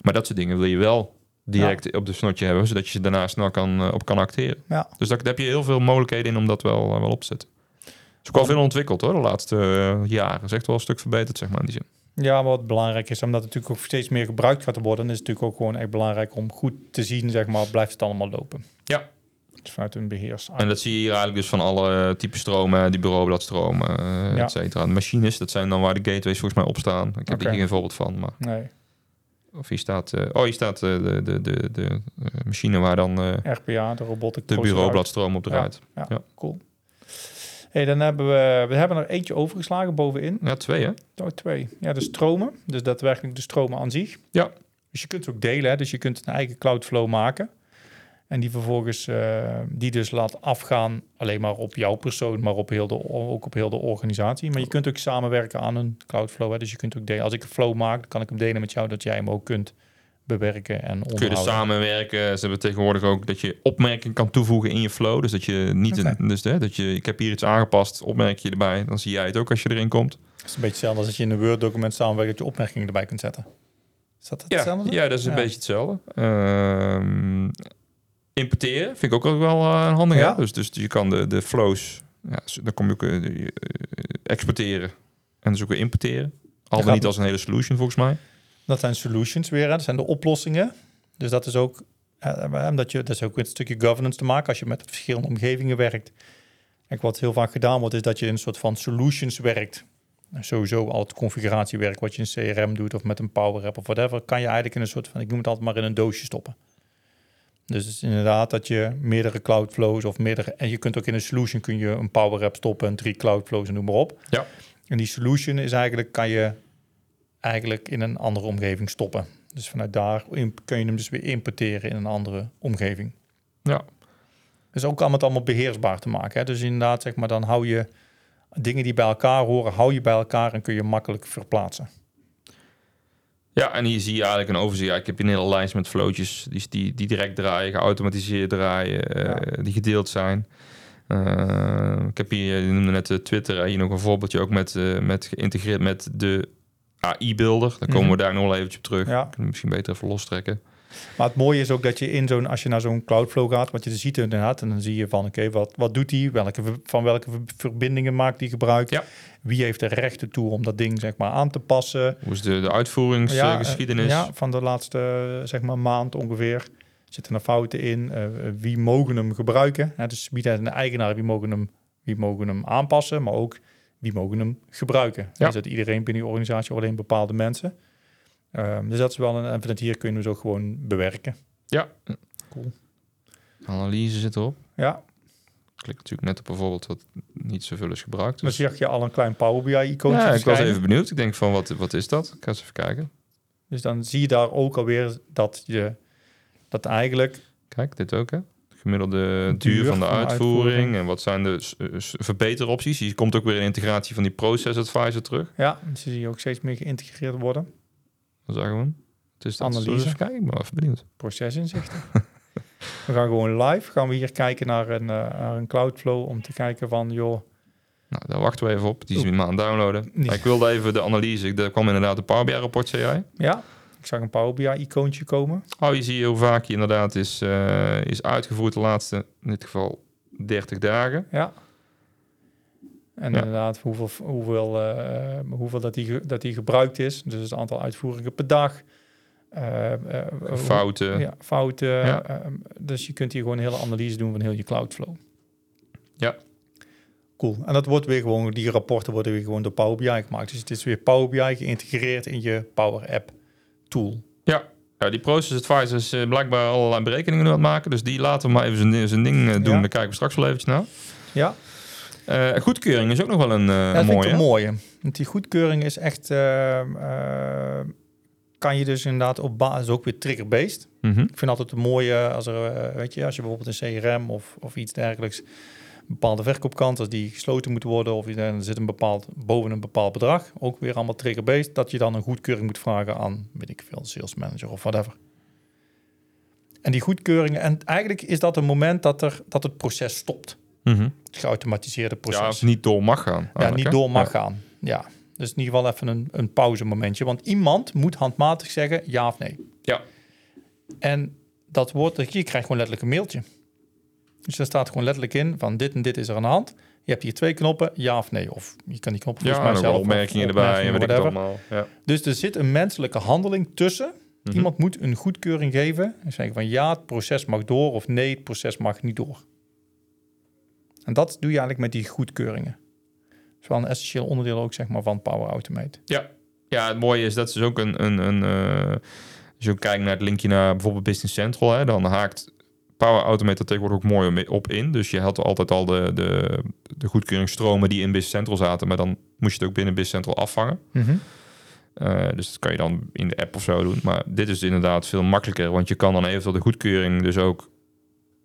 B: Maar dat soort dingen wil je wel direct op de snotje hebben, zodat je ze daarna snel kan, eh, op kan acteren.
A: Ja.
B: Dus daar daar heb je heel veel mogelijkheden in om dat wel, eh, wel op te zetten. Het is ook wel veel ontwikkeld hoor, de laatste eh, jaren. Het is echt wel een stuk verbeterd, zeg maar, in die zin.
A: Ja, maar wat belangrijk is, omdat het natuurlijk ook steeds meer gebruikt gaat worden, is het natuurlijk ook gewoon echt belangrijk om goed te zien, zeg maar, blijft het allemaal lopen.
B: Ja.
A: Dus vanuit een beheers.
B: En dat zie je hier eigenlijk dus van alle eh, type stromen, die bureaubladstromen, eh
A: Ja.
B: et cetera. De machines, dat zijn dan waar de gateways volgens mij op staan. Ik heb
A: Oké.
B: er hier geen voorbeeld van, maar...
A: Nee,
B: Of hier staat... eh, oh, hier staat eh, de, de, de, de eh, machine waar dan eh,
A: RPA, de robotic
B: de
A: procedure.
B: bureaubladstroom op draait.
A: Cool. hey, dan hebben we, we hebben er eentje overgeslagen bovenin.
B: Ja. twee hè?
A: Oh, twee. Ja, de stromen. Dus daadwerkelijk de stromen aan zich.
B: Ja.
A: Dus je kunt ze ook delen, hè? dus je kunt een eigen cloudflow maken. En die vervolgens, eh, die dus laat afgaan alleen maar op jouw persoon, maar op heel de, ook op heel de organisatie. Maar je kunt ook samenwerken aan een cloudflow. Hè? Dus je kunt ook delen. Als ik een flow maak, dan kan ik hem delen met jou, dat jij hem ook kunt bewerken en onderhouden.
B: Kun je dus samenwerken. Ze hebben tegenwoordig ook dat je opmerking kan toevoegen in je flow. Dus dat je niet...
A: Oké.
B: Een, dus hè, dat je, ik heb hier iets aangepast, opmerk je erbij. Dan zie jij het ook als je erin komt.
A: Het is een beetje hetzelfde als dat je in een Word-document samenwerkt, dat je opmerkingen erbij kunt zetten. Is dat
B: Ja,
A: hetzelfde?
B: ja, dat is een
A: Ja.
B: beetje hetzelfde. Ehm, importeren vind ik ook wel eh, een handige.
A: Ja.
B: Dus, dus je kan de, de flows, ja, s- dan kom je ook eh, eh, exporteren en dus ook weer importeren. Al dan
A: gaat-
B: niet als een hele solution volgens mij.
A: Dat zijn solutions weer, hè? dat zijn de oplossingen. Dus dat is ook, eh, omdat je, dat is ook met een stukje governance te maken als je met verschillende omgevingen werkt. Kijk, wat heel vaak gedaan wordt, is dat je in een soort van solutions werkt. En Sowieso al het configuratiewerk wat je in CRM doet of met een Power App of whatever, kan je eigenlijk in een soort van, ik noem het altijd maar in een doosje stoppen. Dus het is inderdaad dat je meerdere Cloudflows of meerdere... En je kunt ook in een solution kun je een Power App stoppen en drie Cloudflows en noem maar op.
B: Ja.
A: En die solution is eigenlijk, kan je eigenlijk in een andere omgeving stoppen. Dus vanuit daar in- kun je hem dus weer importeren in een andere omgeving.
B: Ja.
A: Dus ook allemaal het allemaal beheersbaar te maken. Hè? Dus inderdaad, zeg maar, dan hou je dingen die bij elkaar horen, hou je bij elkaar en kun je makkelijk verplaatsen.
B: Ja, en hier zie je eigenlijk een overzicht. Ja, Ik heb hier een hele lijst met flowtjes die, die, die direct draaien, geautomatiseerd draaien, eh, die gedeeld zijn. Eh, ik heb hier, je noemde net eh, Twitter, hè, hier nog een voorbeeldje ook met, eh, met geïntegreerd met de AI-builder. Dan komen
A: Mhm.
B: we daar nog wel eventjes op terug.
A: Ja.
B: Kunnen we misschien beter even lostrekken.
A: Maar het mooie is ook dat je in zo'n, als je naar zo'n Cloudflow gaat, wat je er ziet inderdaad, en dan zie je van, oké, wat, wat doet die? Welke, ver- van welke ver- verbindingen maakt die gebruik?
B: Ja.
A: Wie heeft de rechten toe om dat ding, zeg maar, aan te passen?
B: Hoe is de, de
A: Ja, eh,
B: uitvoeringsgeschiedenis?
A: ja, van de laatste, eh, zeg maar, maand ongeveer. Zitten er fouten in? Eh, wie mogen hem gebruiken? Hè, dus wie en de eigenaar, wie mogen, hem, wie mogen hem aanpassen? Maar ook, wie mogen hem gebruiken?
B: Ja.
A: Is dat iedereen binnen die organisatie of alleen bepaalde mensen? Ehm, dus dat is wel een... En vanuit hier kun je hem dus ook gewoon bewerken.
B: Analyse zit erop.
A: Ja.
B: Klik natuurlijk net op bijvoorbeeld wat niet zoveel is gebruikt.
A: Dan
B: Dus.
A: zag je al een klein Power BI-icoontje
B: Ja, ik was
A: verschijnen.
B: even benieuwd. Ik denk van, wat, wat is dat? Ik ga eens even kijken.
A: Dus dan zie je daar ook alweer dat je dat eigenlijk...
B: Kijk, dit ook, hè? De gemiddelde duur,
A: Duur
B: van de
A: van de
B: uitvoering.
A: uitvoering.
B: En wat zijn de s- s- verbeteropties? Hier komt ook weer een integratie van die process advisor terug.
A: Ja, dus die zie je ook steeds meer geïntegreerd worden.
B: Dat is gewoon. Het is dat.
A: Analyse.
B: Zullen we eens even kijken? Ik ben wel even benieuwd.
A: Procesinzichten. we gaan gewoon live. Gaan we hier kijken naar een, eh, naar een Cloudflow om te kijken van... joh,
B: Nou, daar wachten we even op. Die zien we maar aan het downloaden.
A: Nee.
B: Maar ik wilde even de analyse. Ik- Daar kwam inderdaad een Power BI-rapport, zei jij.
A: ja, ik zag een Power BI-icoontje komen.
B: Oh, je ziet hoe vaak je inderdaad is, eh, is uitgevoerd de laatste, in dit geval, 30 dagen.
A: Ja. En
B: Ja.
A: inderdaad, hoeveel, hoeveel, eh, hoeveel dat, die, ge- dat die gebruikt is. Dus het aantal uitvoeringen per dag. Eh, eh, hoe-
B: Fouten.
A: Ja, fouten.
B: Ja.
A: ehm, dus je kunt hier gewoon een hele analyse doen van heel je Cloudflow.
B: Ja.
A: Cool. En dat wordt weer gewoon, die rapporten worden weer gewoon door Power BI gemaakt. Dus het is weer Power BI geïntegreerd in je Power App tool.
B: Ja, die process advisor is eh, blijkbaar allerlei berekeningen aan het maken. Dus die laten we maar even zijn- zijn ding eh, doen.
A: Ja.
B: Daar kijken we straks wel eventjes naar.
A: Ja,
B: Eh, goedkeuring is ook nog wel een eh,
A: dat vind
B: mooie.
A: ik een mooie. Want die goedkeuring is echt, ehm, ehm, kan je dus inderdaad op basis ook weer trigger-based.
B: Mhm.
A: Ik vind altijd het mooie als er, eh, weet je, als je bijvoorbeeld een CRM of, of iets dergelijks, bepaalde verkoopkant, als die gesloten moet worden of iets dergelijks, er zit een bepaald, boven een bepaald bedrag, ook weer allemaal trigger-based, dat je dan een goedkeuring moet vragen aan, weet ik veel, sales manager of whatever. En die goedkeuringen, en eigenlijk is dat een moment dat, er, dat het proces stopt.
B: Mhm.
A: Het geautomatiseerde
B: Ja, als
A: proces.
B: het niet door mag gaan.
A: Ja,
B: eigenlijk,
A: niet
B: hè?
A: door mag
B: Oh, Ja.
A: gaan. Ja. Dus in ieder geval even een, een pauzemomentje. Want iemand moet handmatig zeggen ja of nee.
B: Ja.
A: En dat wordt, je krijgt gewoon letterlijk een mailtje. Dus daar staat gewoon letterlijk in van dit en dit is er aan de hand. Je hebt hier twee knoppen, ja of nee. Of je kan die knoppen
B: Ja,
A: volgens mij
B: en
A: zelf...
B: ook
A: of
B: opmerkingen erbij en
A: opmerkingen,
B: weet ik het
A: whatever.
B: allemaal. Ja.
A: Dus er zit een menselijke handeling tussen.
B: Mhm.
A: Iemand moet een goedkeuring geven. En zeggen van ja, het proces mag door of nee, het proces mag niet door. En dat doe je eigenlijk met die goedkeuringen. Dat is wel een essentieel onderdeel ook zeg maar, van Power Automate.
B: Ja, het mooie is dat is dus ook een... een, een eh, als je ook kijkt naar het linkje naar bijvoorbeeld Business Central... Hè, dan haakt Power Automate er tegenwoordig ook mooi om- op in. Dus je had altijd al de, de, de goedkeuringsstromen die in Business Central zaten... maar dan moest je het ook binnen Business Central afvangen. Eh, dus dat kan je dan in de app of zo doen. Maar dit is inderdaad veel makkelijker, want je kan dan eventueel de goedkeuring dus ook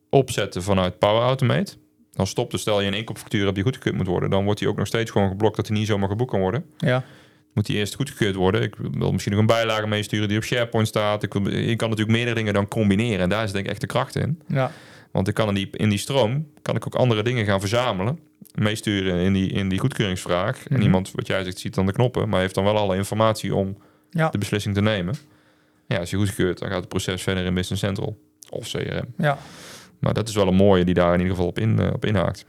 B: opzetten vanuit Power Automate. Dan stopt dus stel je een inkoopfactuur hebt die goedgekeurd moet worden, dan wordt die ook nog steeds gewoon geblokt dat die niet zomaar geboekt kan worden.
A: Ja.
B: Moet die eerst goedgekeurd worden. Ik wil misschien nog een bijlage meesturen die op SharePoint staat. Ik wil, je kan natuurlijk meerdere dingen dan combineren. En daar zit denk ik echt de kracht in.
A: ja.
B: Want ik kan in die, in die stroom kan ik ook andere dingen gaan verzamelen. Meesturen in die, in die goedkeuringsvraag. En
A: Mhm.
B: iemand, wat jij zegt, ziet dan de knoppen. Maar heeft dan wel alle informatie om
A: Ja.
B: de beslissing te nemen. Ja, als je goedkeurt, dan gaat het proces verder in Business Central. Of CRM.
A: Ja.
B: Maar dat is wel een mooie die daar in ieder geval op, in, eh, op inhaakt.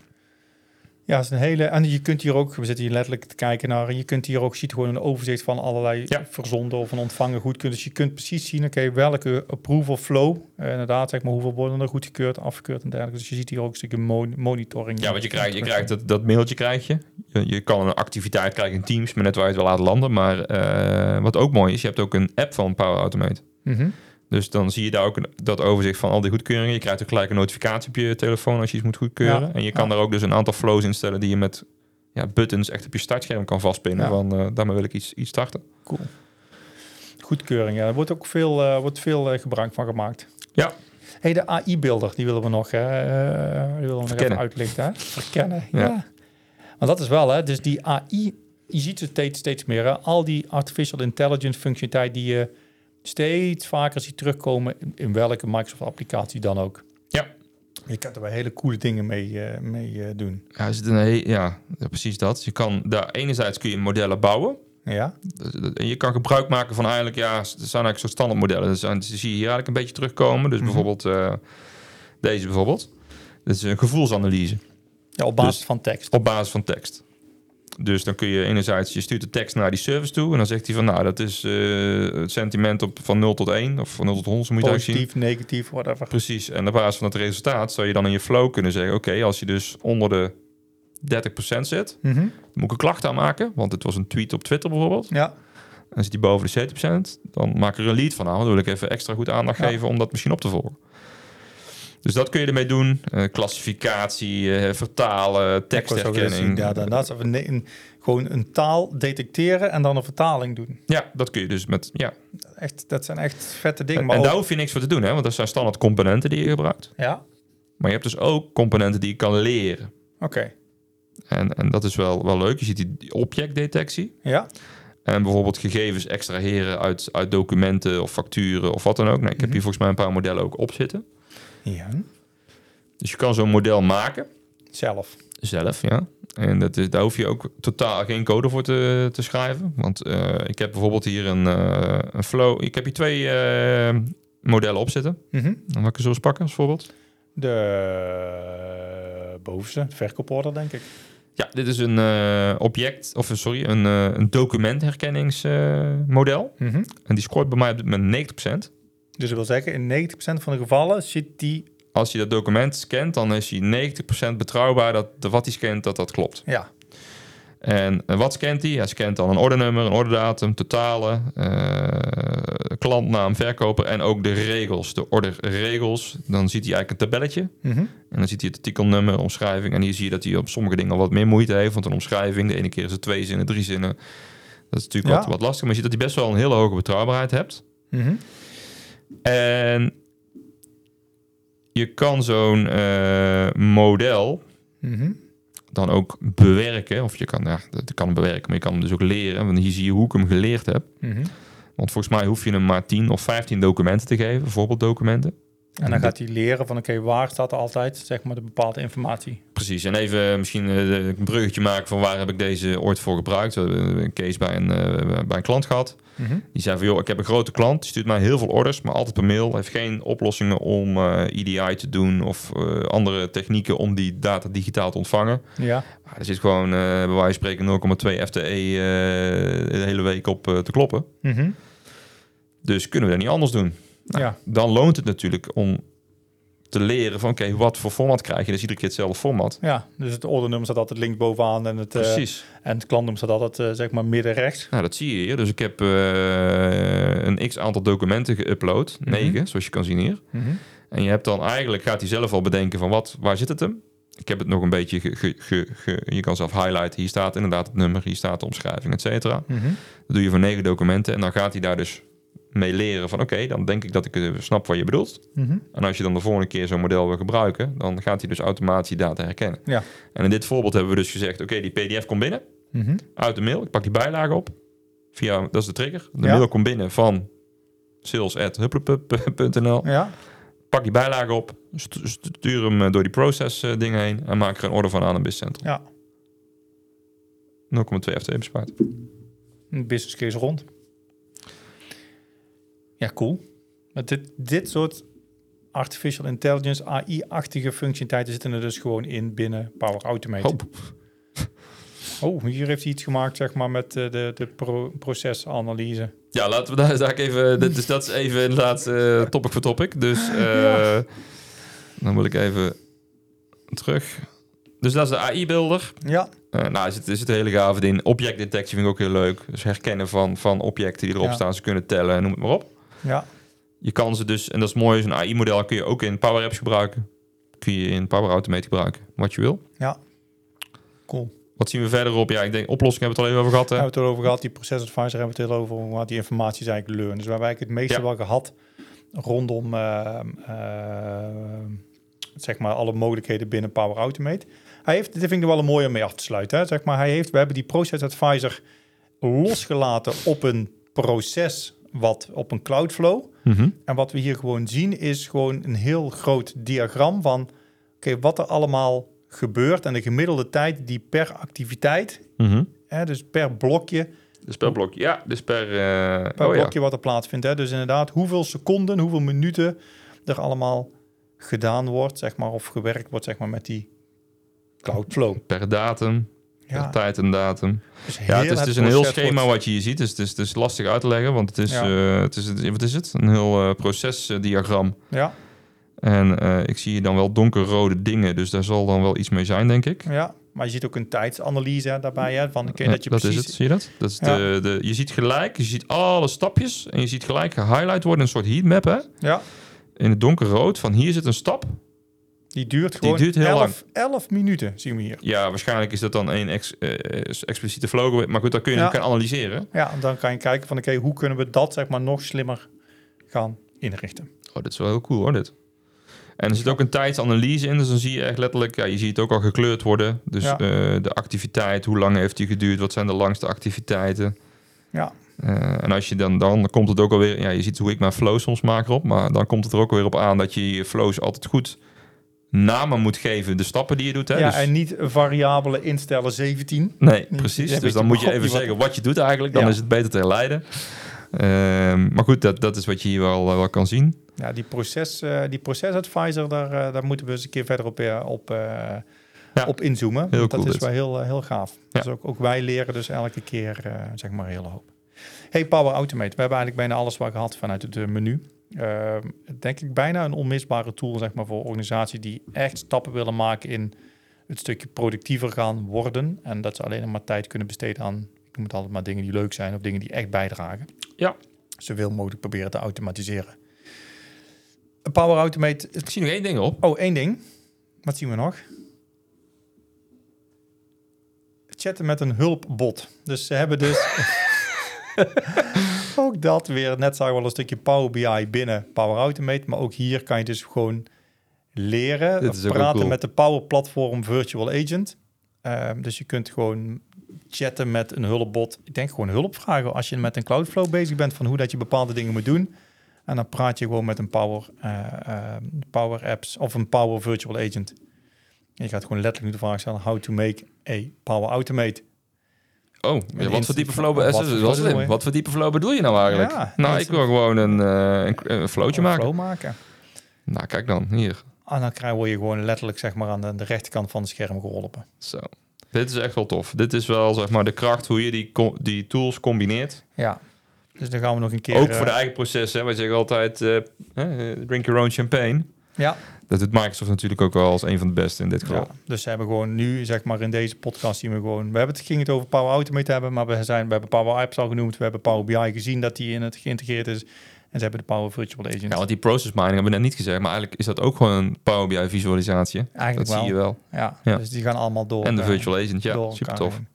A: Ja, het is een hele. En je kunt hier ook, we zitten hier letterlijk te kijken naar. En je kunt hier ook, je ziet gewoon een overzicht van allerlei
B: Ja.
A: verzonden of een ontvangen goedkeuring. Dus je kunt precies zien, oké, welke approval flow. eh, inderdaad, zeg maar, hoeveel worden er goedgekeurd, afgekeurd en dergelijke. Dus je ziet hier ook een stukje mon- monitoring.
B: Ja, want je krijgt, je krijgt dat, dat mailtje krijg je. je. je kan een activiteit krijgen in Teams, maar net waar je het wil laten landen. Maar eh, wat ook mooi is, je hebt ook een app van Power Automate.
A: Mhm.
B: Dus dan zie je daar ook een- dat overzicht van al die goedkeuringen. Je krijgt ook gelijk een notificatie op je telefoon als je iets moet goedkeuren.
A: Ja.
B: En je kan
A: Ja.
B: daar ook dus een aantal flows instellen die je met ja, buttons echt op je startscherm kan vastpinnen.
A: Ja.
B: Van eh, daarmee wil ik iets, iets starten.
A: Goedkeuring, ja. Daar wordt ook veel, eh, wordt veel eh, gebruik van gemaakt.
B: Ja.
A: hey, de AI-beelder, die willen we nog, hè, eh, die willen we nog even
B: Verkennen.
A: uitlichten. Hè? Verkennen, ja.
B: Ja.
A: Want dat is wel, hè, dus die AI, je ziet het steeds, steeds meer. Hè? Al die artificial intelligence functionaliteit die je steeds vaker ziet terugkomen in, in welke Microsoft-applicatie dan ook.
B: Ja.
A: Je kunt er wel hele coole dingen mee, eh, mee eh, doen.
B: Ja, is het een he- ja, ja, precies dat. Je kan daar enerzijds kun je modellen bouwen.
A: Ja,
B: Dus dat- En je kan gebruik maken van eigenlijk, ja, s- dat zijn eigenlijk soort standaardmodellen. Dat zijn, die zie je hier eigenlijk een beetje terugkomen. Dus
A: Mhm.
B: bijvoorbeeld eh, deze bijvoorbeeld. Dit is een gevoelsanalyse
A: ja op basis
B: Dus-
A: van tekst.
B: op basis van tekst. Dus dan kun je enerzijds, je stuurt de tekst naar die service toe. En dan zegt hij van, nou, dat is eh, het sentiment op, van 0 tot 1. Of van 0 tot 100, zo moet je het eigenlijk zien.
A: Positief, negatief, whatever.
B: Precies. En op basis van het resultaat zou je dan in je flow kunnen zeggen... Oké, als je dus onder de 30% zit,
A: Mhm.
B: dan moet ik een klacht aanmaken. Want het was een tweet op Twitter bijvoorbeeld.
A: Ja,
B: En zit die boven de 70%, dan maak ik er een lead van aan. Dan wil ik even extra goed aandacht
A: Ja.
B: geven om dat misschien op te volgen. Dus dat kun je ermee doen. Eh, Klassificatie, eh, vertalen, tekstherkenning.
A: Ja, daarnaast even een, een- gewoon een taal detecteren en dan een vertaling doen.
B: Ja, dat kun je dus met... Ja.
A: Echt, dat zijn echt vette dingen.
B: En, nou-
A: maar
B: en daar
A: ook-
B: hoef je niks voor te doen, hè? want dat zijn standaard componenten die je gebruikt.
A: Ja,
B: Maar je hebt dus ook componenten die je kan leren.
A: oké.
B: En, en dat is wel, wel leuk. Je ziet die- die objectdetectie.
A: Ja,
B: En bijvoorbeeld gegevens extraheren uit, uit documenten of facturen of wat dan ook. Nou, ik heb
A: Mhm.
B: hier volgens mij een paar modellen ook op zitten.
A: ja.
B: Dus je kan zo'n model maken.
A: zelf.
B: Zelf, ja. En dat is, daar hoef je ook totaal geen code voor te, te schrijven. Want eh, ik heb bijvoorbeeld hier een, eh, een flow. Ik heb hier twee eh, modellen op zitten.
A: Mhm.
B: Dan mag ik er zo eens pakken als voorbeeld.
A: De bovenste, de verkooporder, denk ik.
B: Ja, dit is een eh, object, of eh, sorry, een, eh, een documentherkenningsmodel.
A: Mhm.
B: en die scoort bij mij op dit moment 90%.
A: Dus dat wil zeggen, in 90% van de gevallen zit die...
B: Als je dat document scant, dan is hij 90% betrouwbaar dat de, wat hij scant, dat dat klopt.
A: Ja,
B: En eh, wat scant hij? Hij scant dan een ordernummer, een orderdatum, totale, eh, klantnaam, verkoper en ook de regels, de orderregels. Dan ziet hij eigenlijk een tabelletje
A: Mhm.
B: en dan ziet hij het artikelnummer, omschrijving. En hier zie je dat hij op sommige dingen al wat meer moeite heeft, want een omschrijving, de ene keer is het twee zinnen, drie zinnen. Dat is natuurlijk
A: Ja.
B: wat, wat lastig, maar je ziet dat hij best wel een hele hoge betrouwbaarheid hebt.
A: Mhm.
B: En je kan zo'n eh, model
A: Mhm.
B: dan ook bewerken. Of je kan, ja, dat kan hem bewerken, maar je kan hem dus ook leren. Want hier zie je hoe ik hem geleerd heb.
A: Mhm.
B: Want volgens mij hoef je hem maar 10 of 15 documenten te geven, voorbeelddocumenten.
A: En dan gaat hij leren van, oké, waar staat er altijd, zeg maar, de bepaalde informatie?
B: Precies, en even misschien eh, een bruggetje maken van waar heb ik deze ooit voor gebruikt. We hebben een case bij een, eh, bij een klant gehad.
A: Mhm.
B: Die zei van, joh, ik heb een grote klant, die stuurt mij heel veel orders, maar altijd per mail. Heeft geen oplossingen om eh EDI te doen of eh, andere technieken om die data digitaal te ontvangen.
A: Ja,
B: Maar er zit gewoon, eh bij wijze van spreken, 0,2 FTE E, eh, de hele week op eh, te kloppen.
A: Mhm.
B: Dus kunnen we dat niet anders doen? Nou,
A: Ja.
B: Dan loont het natuurlijk om te leren van oké, wat voor format krijg je? Dus iedere keer hetzelfde format.
A: ja, dus het ordernummer staat altijd links bovenaan en het... eh,
B: Precies.
A: En het klantnummer staat altijd, eh, zeg maar, midden rechts.
B: Nou, dat zie je hier. Dus ik heb eh, een x aantal documenten geüpload.
A: Mhm.
B: Negen, zoals je kan zien hier. En je hebt dan eigenlijk, gaat hij zelf al bedenken van wat, waar zit het hem? Ik heb het nog een beetje, ge, ge- ge- ge- je kan zelf highlighten. Hier staat inderdaad het nummer, hier staat de omschrijving, et cetera.
A: mhm,
B: Dat doe je voor negen documenten. En dan gaat hij daar dus mee leren van oké, dan denk ik dat ik eh, snap wat je bedoelt.
A: mhm,
B: En als je dan de volgende keer zo'n model wil gebruiken, dan gaat hij dus automatisch die data herkennen.
A: Ja.
B: En in dit voorbeeld hebben we dus gezegd: oké, die PDF komt binnen
A: mhm.
B: uit de mail. Ik pak die bijlage op. Via, dat is de trigger. De
A: Ja.
B: mail komt binnen van sales.hupplepup.nl.
A: Ja,
B: Pak die bijlage op, stu- stuur hem eh, door die process eh, dingen heen en maak er een order van aan een business
A: Ja.
B: center. 0,2 FTE E bespaard.
A: een business case rond. Ja, cool. Met dit, dit soort artificial intelligence, AI-achtige functionaliteiten zitten er dus gewoon in binnen Power Automate.
B: Hoop.
A: Oh, hier heeft hij iets gemaakt, zeg maar, met eh, de, de pro- procesanalyse.
B: Ja, laten we daar, daar even. dat- Dus dat is even inderdaad eh, topic voor topic. Dus eh, dan wil ik even terug. Dus dat is de AI-beelder.
A: Ja,
B: nou, er zit, er zit een hele gave in. Objectdetectie vind ik ook heel leuk. Dus herkennen van, van objecten die erop
A: Ja.
B: staan. Ze kunnen tellen, noem het maar op.
A: ja.
B: Je kan ze dus, en dat is mooi, zo'n AI-model kun je ook in Power Apps gebruiken. Kun je in Power Automate gebruiken, wat je wil.
A: Ja. Cool.
B: Wat zien we verderop? Ja, ik denk oplossingen hebben we het al even over
A: We
B: gehad. Hè?
A: hebben we het al over gehad, die process advisor hebben we het heel over, hoe hard die informatie is eigenlijk learn. Dus we hebben eigenlijk het meeste
B: Ja.
A: wel gehad rondom eh, eh, zeg maar alle mogelijkheden binnen Power Automate. Hij heeft, dit vind ik er wel een mooie om mee af te sluiten. Hè. Zeg maar, hij heeft, we hebben die process advisor losgelaten op een proces wat op een Cloudflow.
B: Mhm.
A: En wat we hier gewoon zien is gewoon een heel groot diagram van oké, wat er allemaal gebeurt en de gemiddelde tijd die per activiteit,
B: Mhm.
A: hè, dus per blokje,
B: Dus per blok. Ja, dus per... eh,
A: per
B: oh ja.
A: blokje wat er plaatsvindt. Hè. Dus inderdaad, hoeveel seconden, hoeveel minuten er allemaal gedaan wordt, zeg maar, of gewerkt wordt, zeg maar, met die Cloudflow.
B: Per datum, per
A: Ja,
B: tijd en datum.
A: dus
B: Ja, het
A: heel
B: is, het is een heel
A: proces
B: schema
A: wordt-
B: wat je hier ziet. Dus het is, het is lastig uit te leggen, want het is,
A: Ja.
B: eh, het is, het is- wat is het? Een heel eh, procesdiagram.
A: Ja,
B: En eh, ik zie hier dan wel donkerrode dingen, dus daar zal dan wel iets mee zijn, denk ik.
A: ja, maar je ziet ook een tijdanalyse hè, daarbij, hè, van oké,
B: Ja,
A: dat je
B: is het,
A: precies...
B: zie je dat? dat is
A: Ja.
B: de, de, je ziet gelijk, je ziet alle stapjes en je ziet gelijk gehighlight worden, een soort heatmap hè?
A: Ja,
B: In het donkerrood, van hier zit een stap.
A: die duurt gewoon
B: duurt heel
A: 11 11 minuten, zien we hier.
B: Ja, waarschijnlijk is dat dan één ex, eh, eh, expliciete flow, maar goed, dat kun je
A: Ja.
B: ook gaan analyseren.
A: Ja, en dan kan je kijken van oké, hoe kunnen we dat zeg maar nog slimmer gaan inrichten.
B: Oh, dit is wel heel cool hoor, dit. En er zit ook een tijdsanalyse in, dus dan zie je echt letterlijk, ja, je ziet het ook al gekleurd worden. Dus
A: Ja.
B: eh, de activiteit, hoe lang heeft die geduurd, wat zijn de langste activiteiten.
A: Ja.
B: Eh, en als je dan, dan komt het ook alweer, ja, je ziet hoe ik mijn flow soms maak erop, maar dan komt het er ook weer op aan dat je je flows altijd goed namen moet geven, de stappen die je doet. Hè?
A: Ja,
B: Dus-
A: en niet variabelen instellen 17.
B: Nee,
A: Nee,
B: precies.
A: daar
B: Dus
A: weet
B: dan
A: je
B: moet je
A: God
B: even
A: niet wat-
B: zeggen wat je doet eigenlijk. Dan
A: Ja.
B: is het beter te herleiden. Ehm, maar goed, dat, dat is wat je hier wel, eh, wel kan zien.
A: Ja, die, proces, eh die procesadvisor, daar, eh, daar moeten we eens een keer verder op, eh, op, eh,
B: Ja.
A: op inzoomen. Want dat
B: cool
A: is
B: dit.
A: wel heel, eh, heel gaaf. Dus ook, ook wij leren dus elke keer eh, zeg maar een hele hoop. Hey, Power Automate. We hebben eigenlijk bijna alles wat gehad vanuit het eh, menu. Ehm, denk ik bijna een onmisbare tool zeg maar, voor organisaties die echt stappen willen maken in het stukje productiever gaan worden. En dat ze alleen nog maar tijd kunnen besteden aan, ik noem het altijd maar dingen die leuk zijn of dingen die echt bijdragen.
B: Ja.
A: Zoveel mogelijk proberen te automatiseren. Power Automate.
B: Ik zie nog één ding op.
A: Oh, één ding. Wat zien we nog? Chatten met een hulpbot. Dus ze hebben dus... ook dat weer. Net zagen we al een stukje Power BI binnen Power Automate. Maar ook hier kan je dus gewoon leren.
B: Dit is ook wel
A: praten
B: cool.
A: met de Power Platform Virtual Agent. Ehm, dus je kunt gewoon chatten met een hulpbot. Ik denk gewoon hulp vragen als je met een Cloudflow bezig bent van hoe dat je bepaalde dingen moet doen. En dan praat je gewoon met een Power, eh, eh, power Apps of een Power Virtual Agent. En je gaat gewoon letterlijk de vraag stellen: how to make a Power Automate.
B: Oh, ja, wat voor
A: instant-
B: diepe flow, be-
A: wat
B: eh,
A: voor
B: dat is wel
A: flow
B: slim.
A: bedoel je?
B: Wat voor diepe flow bedoel je nou eigenlijk?
A: Ja,
B: nou, ik
A: instant-
B: wil gewoon een, eh een, een flowtje
A: Een
B: maken.
A: flow maken.
B: Nou, kijk dan, hier.
A: En Ah, dan krijg je gewoon letterlijk zeg maar, aan de, de rechterkant van het scherm geholpen.
B: Zo. Dit is echt wel tof. Dit is wel zeg maar de kracht hoe je die, co- die tools combineert.
A: Ja. Dus dan gaan we nog een keer.
B: Ook voor de
A: eh,
B: eigen proces. Hè. Wij zeggen altijd: eh, eh, drink your own champagne.
A: Ja.
B: Dat doet Microsoft natuurlijk ook wel als een van de beste in dit geval.
A: Ja, dus ze hebben gewoon nu, zeg maar, in deze podcast zien we gewoon... We hebben het, ging het over Power Automate hebben, maar we, zijn, we hebben Power Apps al genoemd. We hebben Power BI gezien dat die in het geïntegreerd is. En ze hebben de Power Virtual Agent.
B: Ja, want die process mining hebben we net niet gezegd, maar eigenlijk is dat ook gewoon een Power BI visualisatie. hè? Dat
A: Eigenlijk wel.
B: zie je wel.
A: Ja,
B: Ja.
A: dus die gaan allemaal door.
B: En de
A: eh,
B: virtual agent, ja,
A: door
B: super
A: elkaar
B: tof.
A: heen.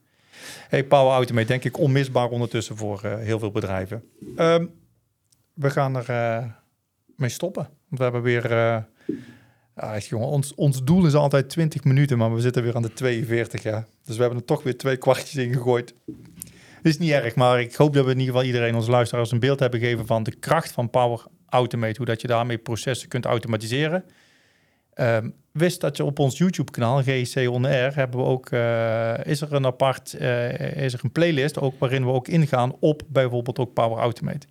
A: Hey, Power Automate, denk ik onmisbaar ondertussen voor eh, heel veel bedrijven. Ehm, we gaan er eh, mee stoppen. Want we hebben weer... eh, ah, echt, jongen, ons, ons doel is altijd 20 minuten, maar we zitten weer aan de 42. Ja. Dus we hebben er toch weer twee kwartjes in gegooid. Is niet erg, maar ik hoop dat we in ieder geval iedereen, onze luisteraars, een beeld hebben gegeven van de kracht van Power Automate. Hoe dat je daarmee processen kunt automatiseren. Ehm, wist dat je op ons YouTube-kanaal, GEC On Air, hebben we ook, eh, is er een apart, eh, is er een playlist ook waarin we ook ingaan op bijvoorbeeld ook Power Automate.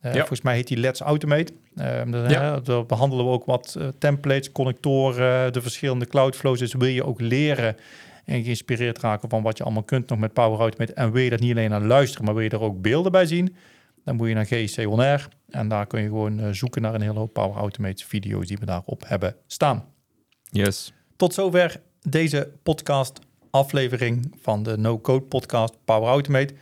A: Eh,
B: Ja.
A: Volgens mij heet die Let's Automate. Ehm daar,
B: Ja.
A: eh, daar behandelen we ook wat eh, templates, connectoren, de verschillende cloudflows. Dus wil je ook leren en geïnspireerd raken van wat je allemaal kunt nog met Power Automate. En wil je dat niet alleen aan luisteren, maar wil je er ook beelden bij zien, dan moet je naar GEC On Air. En daar kun je gewoon eh, zoeken naar een hele hoop Power Automate video's die we daarop hebben staan.
B: Yes.
A: Tot zover deze podcast aflevering van de No Code podcast Power Automate.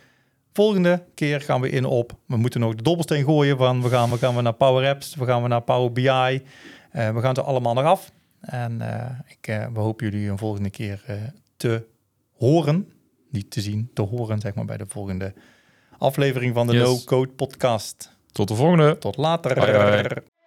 A: Volgende keer gaan we in op. We moeten nog de dobbelsteen gooien. Van we gaan, we gaan we naar Power Apps, we gaan we naar Power BI. Eh, we gaan het er allemaal nog af. En eh, ik, eh, we hopen jullie een volgende keer eh, te horen. Niet te zien, te horen, zeg maar, bij de volgende aflevering van de
B: Yes.
A: No Code Podcast.
B: Tot de volgende.
A: Tot later.
B: Hoi, hoi.